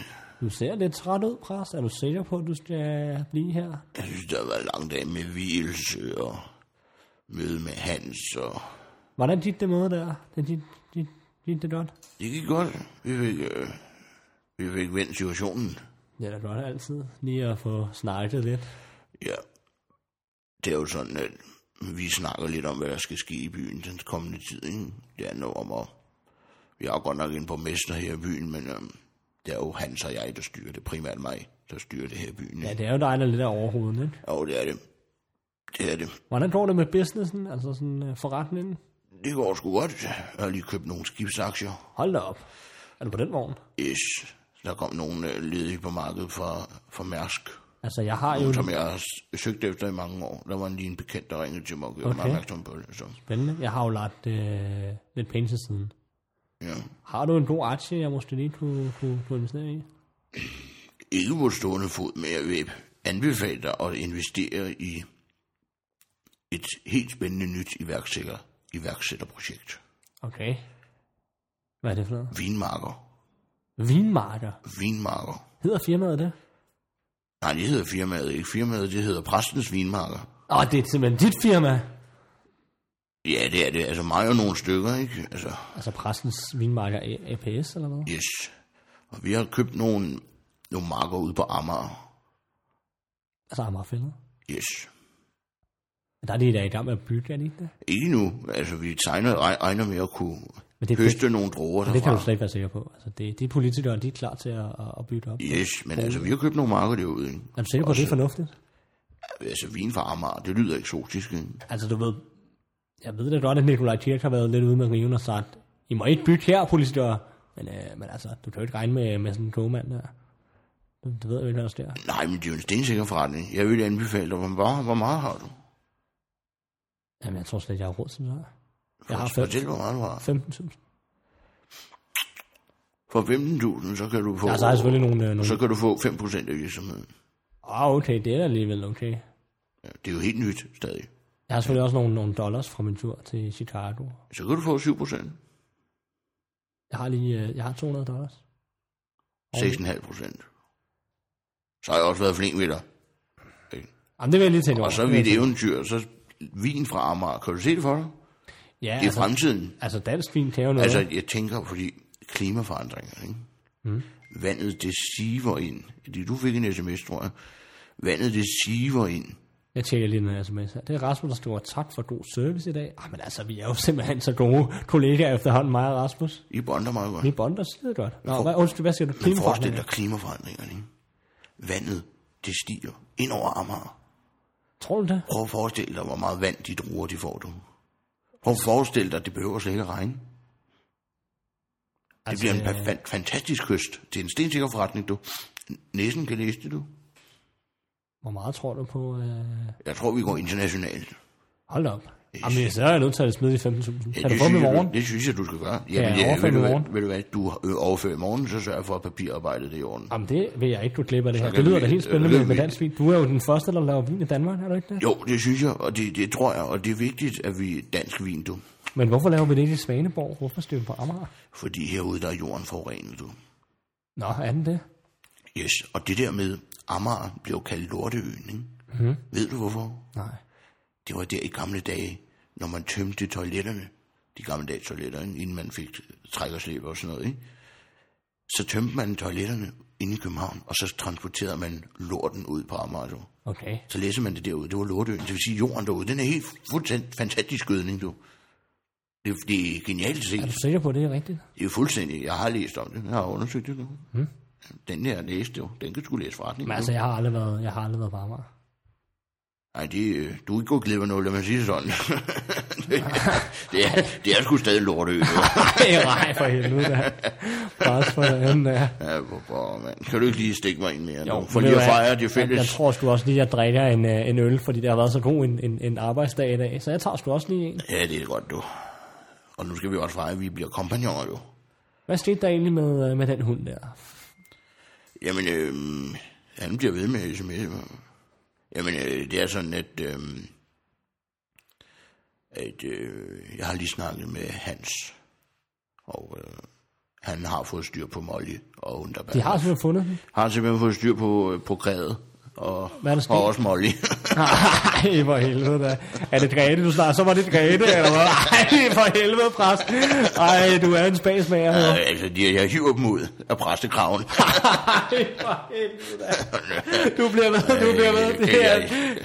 B: Du ser lidt træt ud, præst. Er du sikker på, at du skal blive her?
A: Jeg synes, det har været en lang dag med hvilelse og møde med Hans. Og...
B: Hvordan gik det møde der? Det gik, gik, gik det godt?
A: Det gik godt. Vi fik, øh, vi fik vendt situationen.
B: Ja, det er godt altid. Lige at få snakket lidt.
A: Ja. Det er jo sådan, at vi snakker lidt om, hvad der skal ske i byen den kommende tid. Ikke? Det handler jo om, at vi har godt nok en borgmester her i byen, men øhm, det er jo Hans og jeg, der styrer det. Primært mig, der styrer det her i byen.
B: Ja,
A: Ikke?
B: det er jo dig, der er lidt af overhovedet, ikke?
A: Jo, det er det. Det er det.
B: Hvordan går det med businessen, altså sådan øh, forretningen?
A: Det går sgu godt. Jeg har lige købt nogle skibsaktier.
B: Hold da op. Er du på den vogn?
A: Yes. Der kom nogle øh, ledige på markedet fra, fra Mærsk,
B: Altså, jeg har jo...
A: som jeg har s- søgt efter i mange år. Der var lige en bekendt, der ringede til mig og gjorde okay. mig
B: Okay.
A: opmærksom på det. Så,
B: Spændende. Jeg har jo lagt øh, lidt penge til siden.
A: ja.
B: Har du en god aktie, jeg måske lige kunne, kunne, kunne investere i?
A: ikke på stående fod, men jeg vil anbefale dig at investere i et helt spændende nyt iværksætterselskab. iværksætterprojekt.
B: Okay. Hvad er det for noget?
A: Vinmarker.
B: Vinmarker.
A: Vinmarker.
B: Hedder firmaet det?
A: Nej, det hedder firmaet ikke. Firmaet, det hedder Præstens Vinmarker.
B: Åh, det er simpelthen dit firma.
A: Ja, det er det. Altså mig og nogle stykker, ikke? Altså,
B: Altså præstens vinmarker A- APS, eller hvad?
A: yes. Og vi har købt nogle, nogle marker ude på Amager.
B: Altså Amagerfældet.
A: Yes.
B: Men Der er de der i gang med at bygge, er de ikke det?
A: Ikke nu. Altså, vi tegner, regner med at kunne
B: Men det, det,
A: høste nogle droger
B: det kan du
A: derfra.
B: slet ikke være sikker på. Altså, det, de politikere, de er klar til at, at- at bygge det op.
A: Yes, men altså, vi har købt nogle marker derude, ikke?
B: Er du sikker på, at det er fornuftigt?
A: Altså, vin fra Amager, det lyder eksotisk, ikke?
B: Altså, du ved, jeg ved da godt, at Nikolaj Kirk har været lidt ude med riven og sagt, I må ikke bygge her, politikere. Men, øh, men altså, du kan jo ikke regne med, med sådan en kogmand der. Det, det ved jeg jo ikke, hvad der sker.
A: Nej, men det er jo en stensikker forretning. Jeg vil anbefale dig, hvor, hvor- hvor meget har du?
B: Jamen, jeg tror slet, jeg har råd til det. Jeg har fem-
A: Fortæl, hvor meget du har.
B: 15.000.
A: For 15.000, så kan du få...
B: Ja, så har jeg selvfølgelig nogle... Øh, nogle...
A: så kan du få 5% af virksomheden.
B: Ah, okay, det er da alligevel okay.
A: Ja, det er jo helt nyt stadig.
B: Jeg har selvfølgelig også nogle, nogle dollars fra min tur til Chicago.
A: Så kan du få 7%,
B: Jeg har lige, øh, jeg har 200 dollars.
A: 6,5%. Så har jeg også været flink ved dig.
B: Jamen, det vil jeg lige tænke over.
A: Og så er vi et eventyr, så vin fra Amager. Kan du se det for dig?
B: Ja,
A: Det er
B: altså,
A: fremtiden.
B: altså dansk vin kan jo noget.
A: Altså, jeg tænker, fordi klimaforandringer, ikke? Mm. Vandet, det siver ind. Det du fik en sms, tror jeg. Vandet, det siver ind.
B: Jeg tjekker lige noget sms her. Det er Rasmus, der skriver, tak for god service i dag. Ah, men altså, vi er jo simpelthen så gode kollegaer efterhånden, mig og Rasmus.
A: I bonder meget godt.
B: Vi bonder skide godt. Nå, hvad, undskyld, hvad siger du?
A: Forestil dig
B: Klimaforandringer.
A: klimaforandringerne, ikke? Vandet, det stiger ind over Amager.
B: Tror du det?
A: Prøv at forestille dig, hvor meget vand de druer, de får, du. Prøv at forestille dig, det behøver slet ikke at regne. Det
B: Altså,
A: bliver en fa- fan- fantastisk kyst. Det er en stensikker forretning, du. Næsen kan læse det, du.
B: Altså, Hvor meget tror du på? Øh...
A: Jeg tror, vi går internationalt.
B: Hold da op. Jamen, så er jeg nødt til at smide de 15.000. Kan du få
A: synes
B: dem i
A: jeg,
B: morgen?
A: Du, det synes jeg, du skal gøre.
B: Ja,
A: men
B: overfør
A: ved
B: i
A: du hvad-
B: morgen.
A: Ved du hvad, du øh, overfører i morgen, så sørg for, at papirarbejdet det er i orden.
B: Jamen, det vil jeg ikke, du klipper det her.
A: kan
B: Det lyder
A: vi-
B: da helt spændende
A: øh,
B: med, med
A: vi-
B: dansk vin. Du er jo den første, der laver vin i Danmark, er du ikke det?
A: Jo, det synes jeg, og det, det tror jeg, og det er vigtigt, at vi dansk vin, du.
B: Men hvorfor laver vi det ikke i Svaneborg? Hvorfor skal vi på Amager?
A: Fordi herude, der er jorden forurenet, du.
B: Nå, er den det?
A: Yes, og det der med Amager blev kaldt Lorteøen, ikke? Mm. Ved du hvorfor?
B: Nej.
A: Det var der i gamle dage, når man tømte toiletterne, de gamle dage toiletterne, inden man fik træk og slæb og sådan noget, ikke? Så tømte man toiletterne inde i København, og så transporterede man lorten ud på Amager. Du.
B: Okay.
A: Så læser man det derude, det var lortøen, det vil sige jorden derude, den er helt fuldstændig fantastisk gødning, du. Det, det er genialt set.
B: Er du sikker på, at det er rigtigt?
A: Det er jo fuldstændig, jeg har læst om det, jeg har undersøgt det nu. Mm. Den her jeg læste jo, den kan skulle læse forretning.
B: Men altså, jeg har aldrig været, jeg har aldrig været på Amager.
A: Nej, det, øh, du er ikke gået glip af noget, lad mig sige det sådan. det, det, er, det er sgu stadig lorteø. du.
B: Ej, nej, for helvede da. Bare for den der.
A: ja, hvor, hvor, mand. Kan du ikke lige stikke mig ind mere? Jo, for
B: Ved
A: lige
B: du
A: at
B: hvad?
A: fejre det
B: Jeg, jeg
A: fælles.
B: tror sgu også lige, at jeg drikker en, øh, en øl, fordi det har været så god en, en, en arbejdsdag i dag. Så jeg tager sgu også lige en.
A: Ja, det er godt, du. Og nu skal vi også fejre, at vi bliver kompagnoner, jo.
B: Hvad skete der egentlig med, øh, med den hund der?
A: Jamen, øh, han bliver ved med sms. Jamen, øh, det er sådan, at, øh, at øh, jeg har lige snakket med Hans, og øh, han har fået styr på Molly og Underberg.
B: De har simpelthen fundet den.
A: har simpelthen fået styr på, øh, på grædet. Og,
B: Hvad er der sket?
A: og også Molly.
B: Ej, for helvede da. Er det Grete, du snakker? Så var det Grete, eller hvad? Ej, for helvede, præst. Ej, du er en spasmager.
A: Øh,
B: Ja.
A: altså, de, jeg hiver dem ud af præstekraven.
B: Ej, for helvede da. Du bliver med, du bliver med. Det er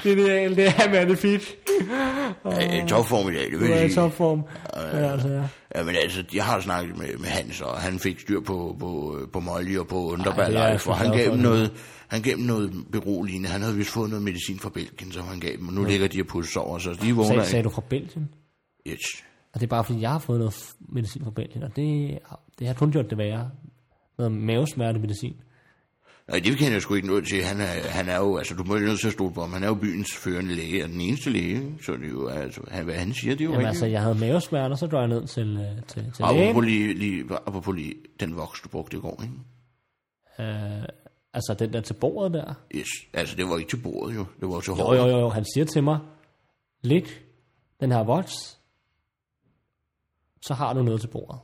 B: genialt, det er magnifik.
A: Øh, Topformiddag, det
B: Du er
A: vil
B: i
A: jeg sige.
B: topform. Men altså, ja.
A: Ja, men altså, jeg har snakket med, med Hans, og han fik styr på, på, øh, på Molly og på Underberg
B: Ej, det er jeg
A: Life,
B: sgu
A: og han
B: glad
A: gav,
B: for,
A: dem
B: det.
A: noget, han gav dem noget beroligende. Han havde vist fået noget medicin fra Belgien, som han gav dem, og nu ligger de og pusser over, så de vågner
B: Sag,
A: ikke.
B: sagde du fra Belgien?
A: Yes.
B: Og det er bare fordi, jeg har fået noget f- medicin fra Belgien, og det, det har kun gjort det værre. Noget mavesmertemedicin.
A: Nej, det kender jeg sgu ikke noget til. Han er, han er jo, altså, du må jo nødt til at stole på ham. Han er jo byens førende læge, og den eneste læge, ikke? så det er jo, altså, han, hvad han siger, det er jo
B: Jamen
A: rigtigt.
B: altså, jeg havde mavesmerter, så drog jeg ned til, øh, til, til lægen.
A: Apropos lige, lige, apropos lige den voks, du brugte i går, ikke?
B: Øh, altså, den der til bordet der.
A: Yes. Altså, det var ikke til bordet, jo. Det var til
B: Jo,
A: håret.
B: jo, jo, jo. Han siger til mig, læg den her voks så har du noget til bordet.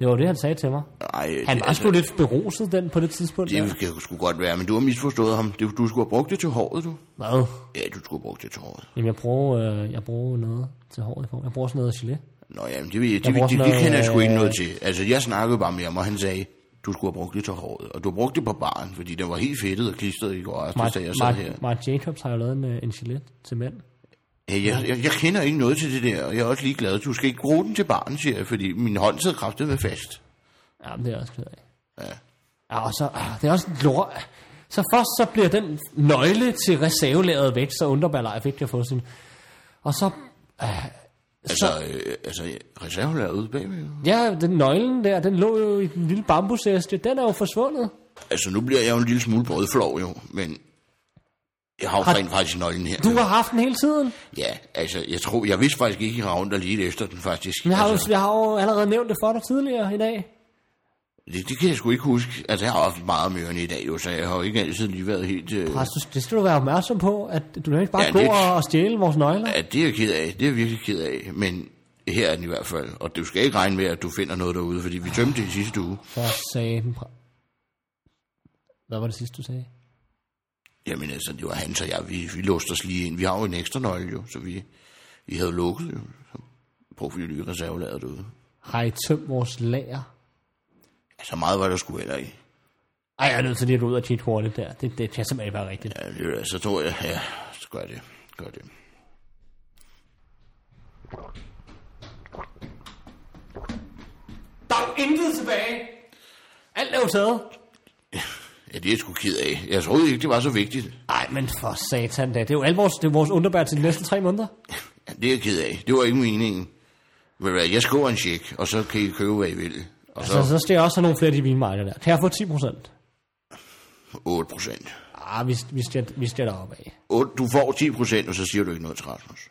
B: Det var jo det, han sagde til mig.
A: Ej, altså,
B: Han var sgu lidt beruset den på det tidspunkt. der.
A: Det kan sgu godt være, men du har misforstået ham. Det- Du skulle have brugt det til håret, du.
B: Hvad?
A: Ja, du skulle have brugt det til håret.
B: Jamen, jeg bruger, øh, jeg bruger noget til håret i form. Jeg bruger sådan noget gelé.
A: Nå ja, men det, det, det,
B: bruger
A: det,
B: sådan
A: det, det kender jeg
B: noget,
A: sgu ikke
B: øh,
A: noget til. Altså, jeg snakkede bare med ham, og han sagde, du skulle have brugt det til håret. Og du brugte det på baren, fordi den var helt fedtet og klistret i går aftes, da jeg sad her.
B: Mark, Mark Jacobs har jo lavet en, øh, en gelé til mænd.
A: Hey, jeg, jeg, jeg kender ikke noget til det der, og jeg er også ligeglad. Du skal ikke bruge den til baren, siger jeg, fordi min hånd sidder kraftet med fast.
B: Ja, men det er jeg også ked af.
A: Ja.
B: Ja, og så, ah, det er også en lort. Så først så bliver den nøgle til reservelæret væk, så underballejer fik jeg få sin. Og så,
A: Altså, øh, altså reserven er ude bagved.
B: ja, den nøglen der, den lå jo i den lille bambusæske, den er jo forsvundet.
A: Altså, nu bliver jeg jo en lille smule brødflov, jo, men jeg har jo rent faktisk nøglen her.
B: Du har haft den hele tiden.
A: Ja, altså, jeg tror, jeg vidste faktisk ikke, at jeg har ondt lige efter den, faktisk.
B: Jeg har, jo,
A: altså,
B: jeg har jo allerede nævnt det for dig tidligere i dag.
A: det, det, kan jeg sgu ikke huske. Altså, jeg har haft meget mere end i dag, jo, så jeg har jo ikke altid lige været helt... Øh,
B: Altså, du- det skal du være opmærksom på, at du kan ikke bare
A: Ja,
B: ja, gå
A: det-
B: og, og stjæle vores nøgler.
A: ja, det er jeg ked af. Det er jeg virkelig ked af, men her er den i hvert fald. Og du skal ikke regne med, at du finder noget derude, fordi vi tømte det i sidste uge.
B: Så sagde den... pra- Hvad var det sidste, du sagde?
A: Jamen altså, det var han og jeg, vi, vi låste os lige ind. Vi har jo en ekstra nøgle jo, så vi, vi havde lukket jo. Så brugte vi lige reserveladet derude.
B: Har I tømt vores lager?
A: Altså meget var der sgu heller ikke.
B: Ej, jeg er nødt til lige at gå ud og kigge hurtigt der. Det, det kan simpelthen ikke være rigtigt.
A: Ja, det, er- så tror jeg, ja, så gør det. Gør det.
B: Der er jo intet tilbage! Alt er jo taget.
A: Ja, det er jeg sgu ked af. Jeg troede ikke, det var så vigtigt.
B: Ej, men for satan da. Det er jo alt vores, det er vores underbær til de næste tre måneder.
A: Ja, det er jeg ked af. Det var ikke meningen. Men hvad, jeg skriver en check, og så kan I købe, hvad I vil. Og
B: Altså, Så,
A: så
B: så skal jeg også have nogle flere af de vinmarker der. Kan jeg få 10 procent?
A: 8 procent.
B: Ah, vi, vi, skal, vi skal deroppe af.
A: Du får 10 procent, og så siger du ikke noget til Rasmus.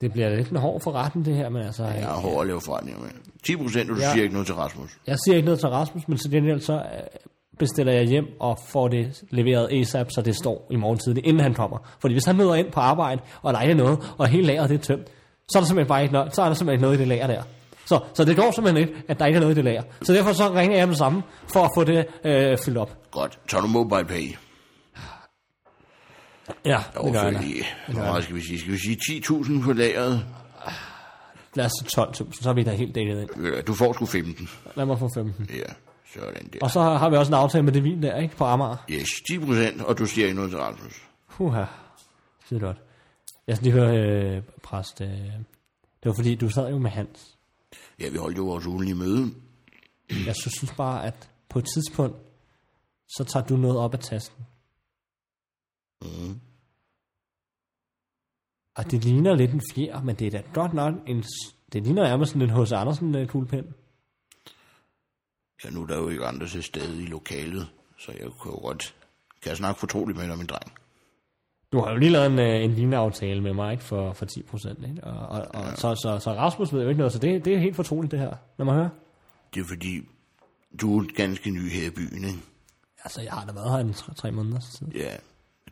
B: Det bliver lidt en hård forretning, det her, men altså...
A: Jeg er hård at lave forretninger med. 10 procent, og du ja.
B: Ja.
A: siger ikke noget til Rasmus.
B: Jeg siger ikke noget til Rasmus, men til gengæld så øh, bestiller jeg hjem og får det leveret ASAP, så det står i morgen tidlig, inden han kommer. Fordi hvis han møder ind på arbejde, og der ikke er noget, og hele lageret det er tømt, så er der simpelthen bare ikke noget, så er der simpelthen ikke noget i det lager der. Så, så det går simpelthen ikke, at der ikke er noget i det lager. Så derfor så ringer jeg med det samme, for at få det øh, fyldt op.
A: Godt. Tager du mobile pay?
B: Ja, det gør jeg. da.
A: Overfølgelig. Hvor meget skal vi sige? Skal vi sige 10.000 på lageret?
B: Lad os sige 12.000, så er vi da helt dækket ind.
A: Ved du hvad, Du får sgu 15.
B: Lad mig få 15.
A: Ja, sådan der.
B: Og så har vi også en aftale med det vin der, ikke? På Amager.
A: Yes, 10 procent, og du siger ikke noget til Rasmus.
B: Puha, skide godt. Jeg skal lige høre, øh, præst, øh, det var fordi, du sad jo med Hans.
A: Ja, vi holdt jo vores ugenlige møde.
B: Jeg sy- synes bare, at på et tidspunkt, så tager du noget op af tasken.
A: Mm.
B: Og det ligner lidt en fjer, men det er da godt nok en... s- Det ligner nærmest sådan en H.C. Andersen øh, kuglepen.
A: Ja, nu er der jo ikke andre til stede i lokalet, så jeg kan jo godt... Kan jeg snakke fortroligt med dig, min dreng?
B: Du har jo lige lavet en, øh, en lignende aftale med mig, ikke? For, for 10 procent, ikke? Og, og, og så, så, så Rasmus ved jo ikke noget, så det, det er helt fortroligt, det her. Lad mig høre.
A: Det er fordi, du er ganske ny her i byen, ikke?
B: Altså, jeg har da været her en tre, tre måneder tid.
A: Ja.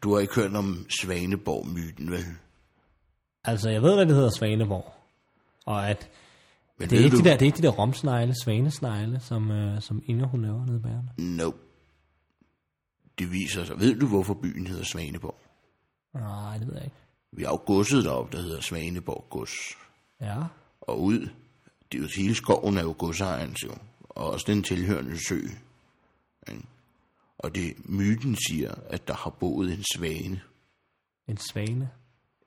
A: Du har ikke hørt om Svaneborg-myten, vel?
B: Altså, jeg ved, hvad det hedder Svaneborg. Og at
A: Men
B: Det er,
A: ved
B: ikke
A: du...
B: de der, det er ikke de der romsnegle, svanesnegle, som, øh, som Inger hun laver nede i bærene.
A: No. Det viser sig. Ved du, hvorfor byen hedder Svaneborg?
B: Nej, det ved jeg ikke.
A: Vi har jo godset deroppe, der hedder Svaneborg Gods.
B: Ja.
A: og ud. Det er jo hele skoven er jo godsejerens jo, og også den tilhørende sø. ikke? Og det myten siger, at der har boet en svane,
B: En svane.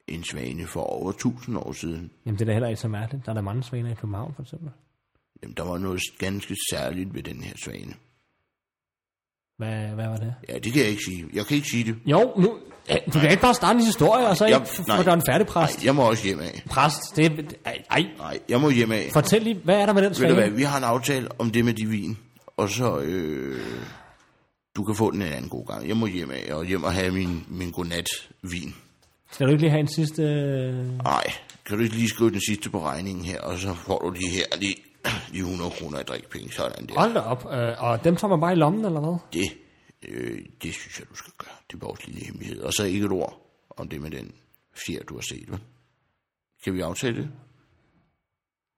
A: en svane for over 1000 år siden.
B: Jamen, det er da heller ikke så mærkeligt. Der er der mange svaner i København, for eksempel.
A: Jamen, der var noget ganske særligt ved den her svane.
B: Hvad, hvad var det?
A: Ja, det kan jeg ikke sige. Jeg kan ikke sige det.
B: Jo, nu... Ja, Du kan ikke bare starte en historie, og så
A: Jeg-
B: ikke f-
A: nej.
B: få dig en færdig præst.
A: Nej, jeg må også hjem af.
B: Præst, det er... Ej, ej,
A: Nej, jeg må hjem af.
B: fortæl lige, hvad er der med den
A: Ved du
B: svane?
A: hvad, vi har en aftale om det med de vin, og så... Øh, du kan få den en anden god gang. Jeg må hjem af og hjem og have min, min godnat-vin.
B: Skal du ikke lige have en sidste... øh,
A: Nej, kan du ikke lige skrive den sidste på regningen her, og så får du de her lige, lige 100 kroner i drikpenge, sådan der.
B: Hold da op. øh, Og dem tager man bare i lommen, eller hvad?
A: Det, øh, det synes jeg, du skal gøre. Det er vores lille hemmelighed. Og så ikke et ord om det med den fjer, du har set, vel? Kan vi aftale det?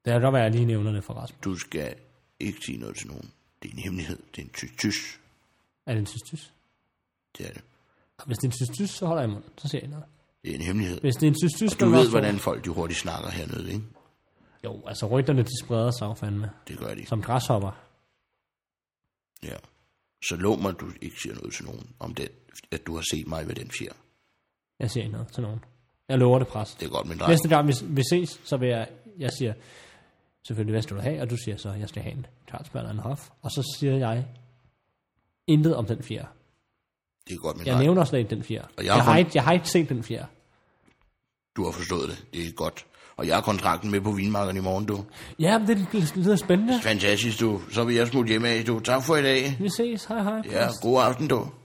B: Det kan godt være, at jeg lige nævner det for Rasmus.
A: Du skal ikke sige noget til nogen. Det er en hemmelighed. Det er en tys-tys.
B: Er det en tystys?
A: Det er det.
B: Hvis det er en tystys, så holder jeg munden. Så siger jeg noget.
A: Det er en hemmelighed.
B: Hvis det er en tystys,
A: Du ved, hvordan folk de hurtigt snakker hernede, ikke?
B: Jo, altså rygterne, de spreder sig jo fandme.
A: Det gør de.
B: Som græshopper.
A: Ja. Så lov mig, at du ikke siger noget til nogen om det, at du har set mig ved den fjer.
B: Jeg siger ikke noget til nogen. Jeg lover det, præst.
A: Det er godt, men nej.
B: Næste gang vi, vi ses, så vil jeg, jeg siger, selvfølgelig, hvad skal du have? Og du siger så, jeg skal have en Carlsberg og en hof. Og så siger jeg, intet om den fjerde.
A: Det er godt, men
B: Jeg
A: nej.
B: nævner slet ikke den fjerde.
A: Og
B: Jeg,
A: jeg
B: jeg, har
A: har-
B: ikke, jeg har ikke set den fjerde.
A: Du har forstået det. Det er godt. Og jeg har kontrakten med på vinmarkeren i morgen, du.
B: Ja, men det lyder- lyder spændende.
A: Fantastisk, du. Så vil jeg smutte hjem af, du. Tak for i dag.
B: Vi ses. Hej, hej.
A: Ja, god aften, du.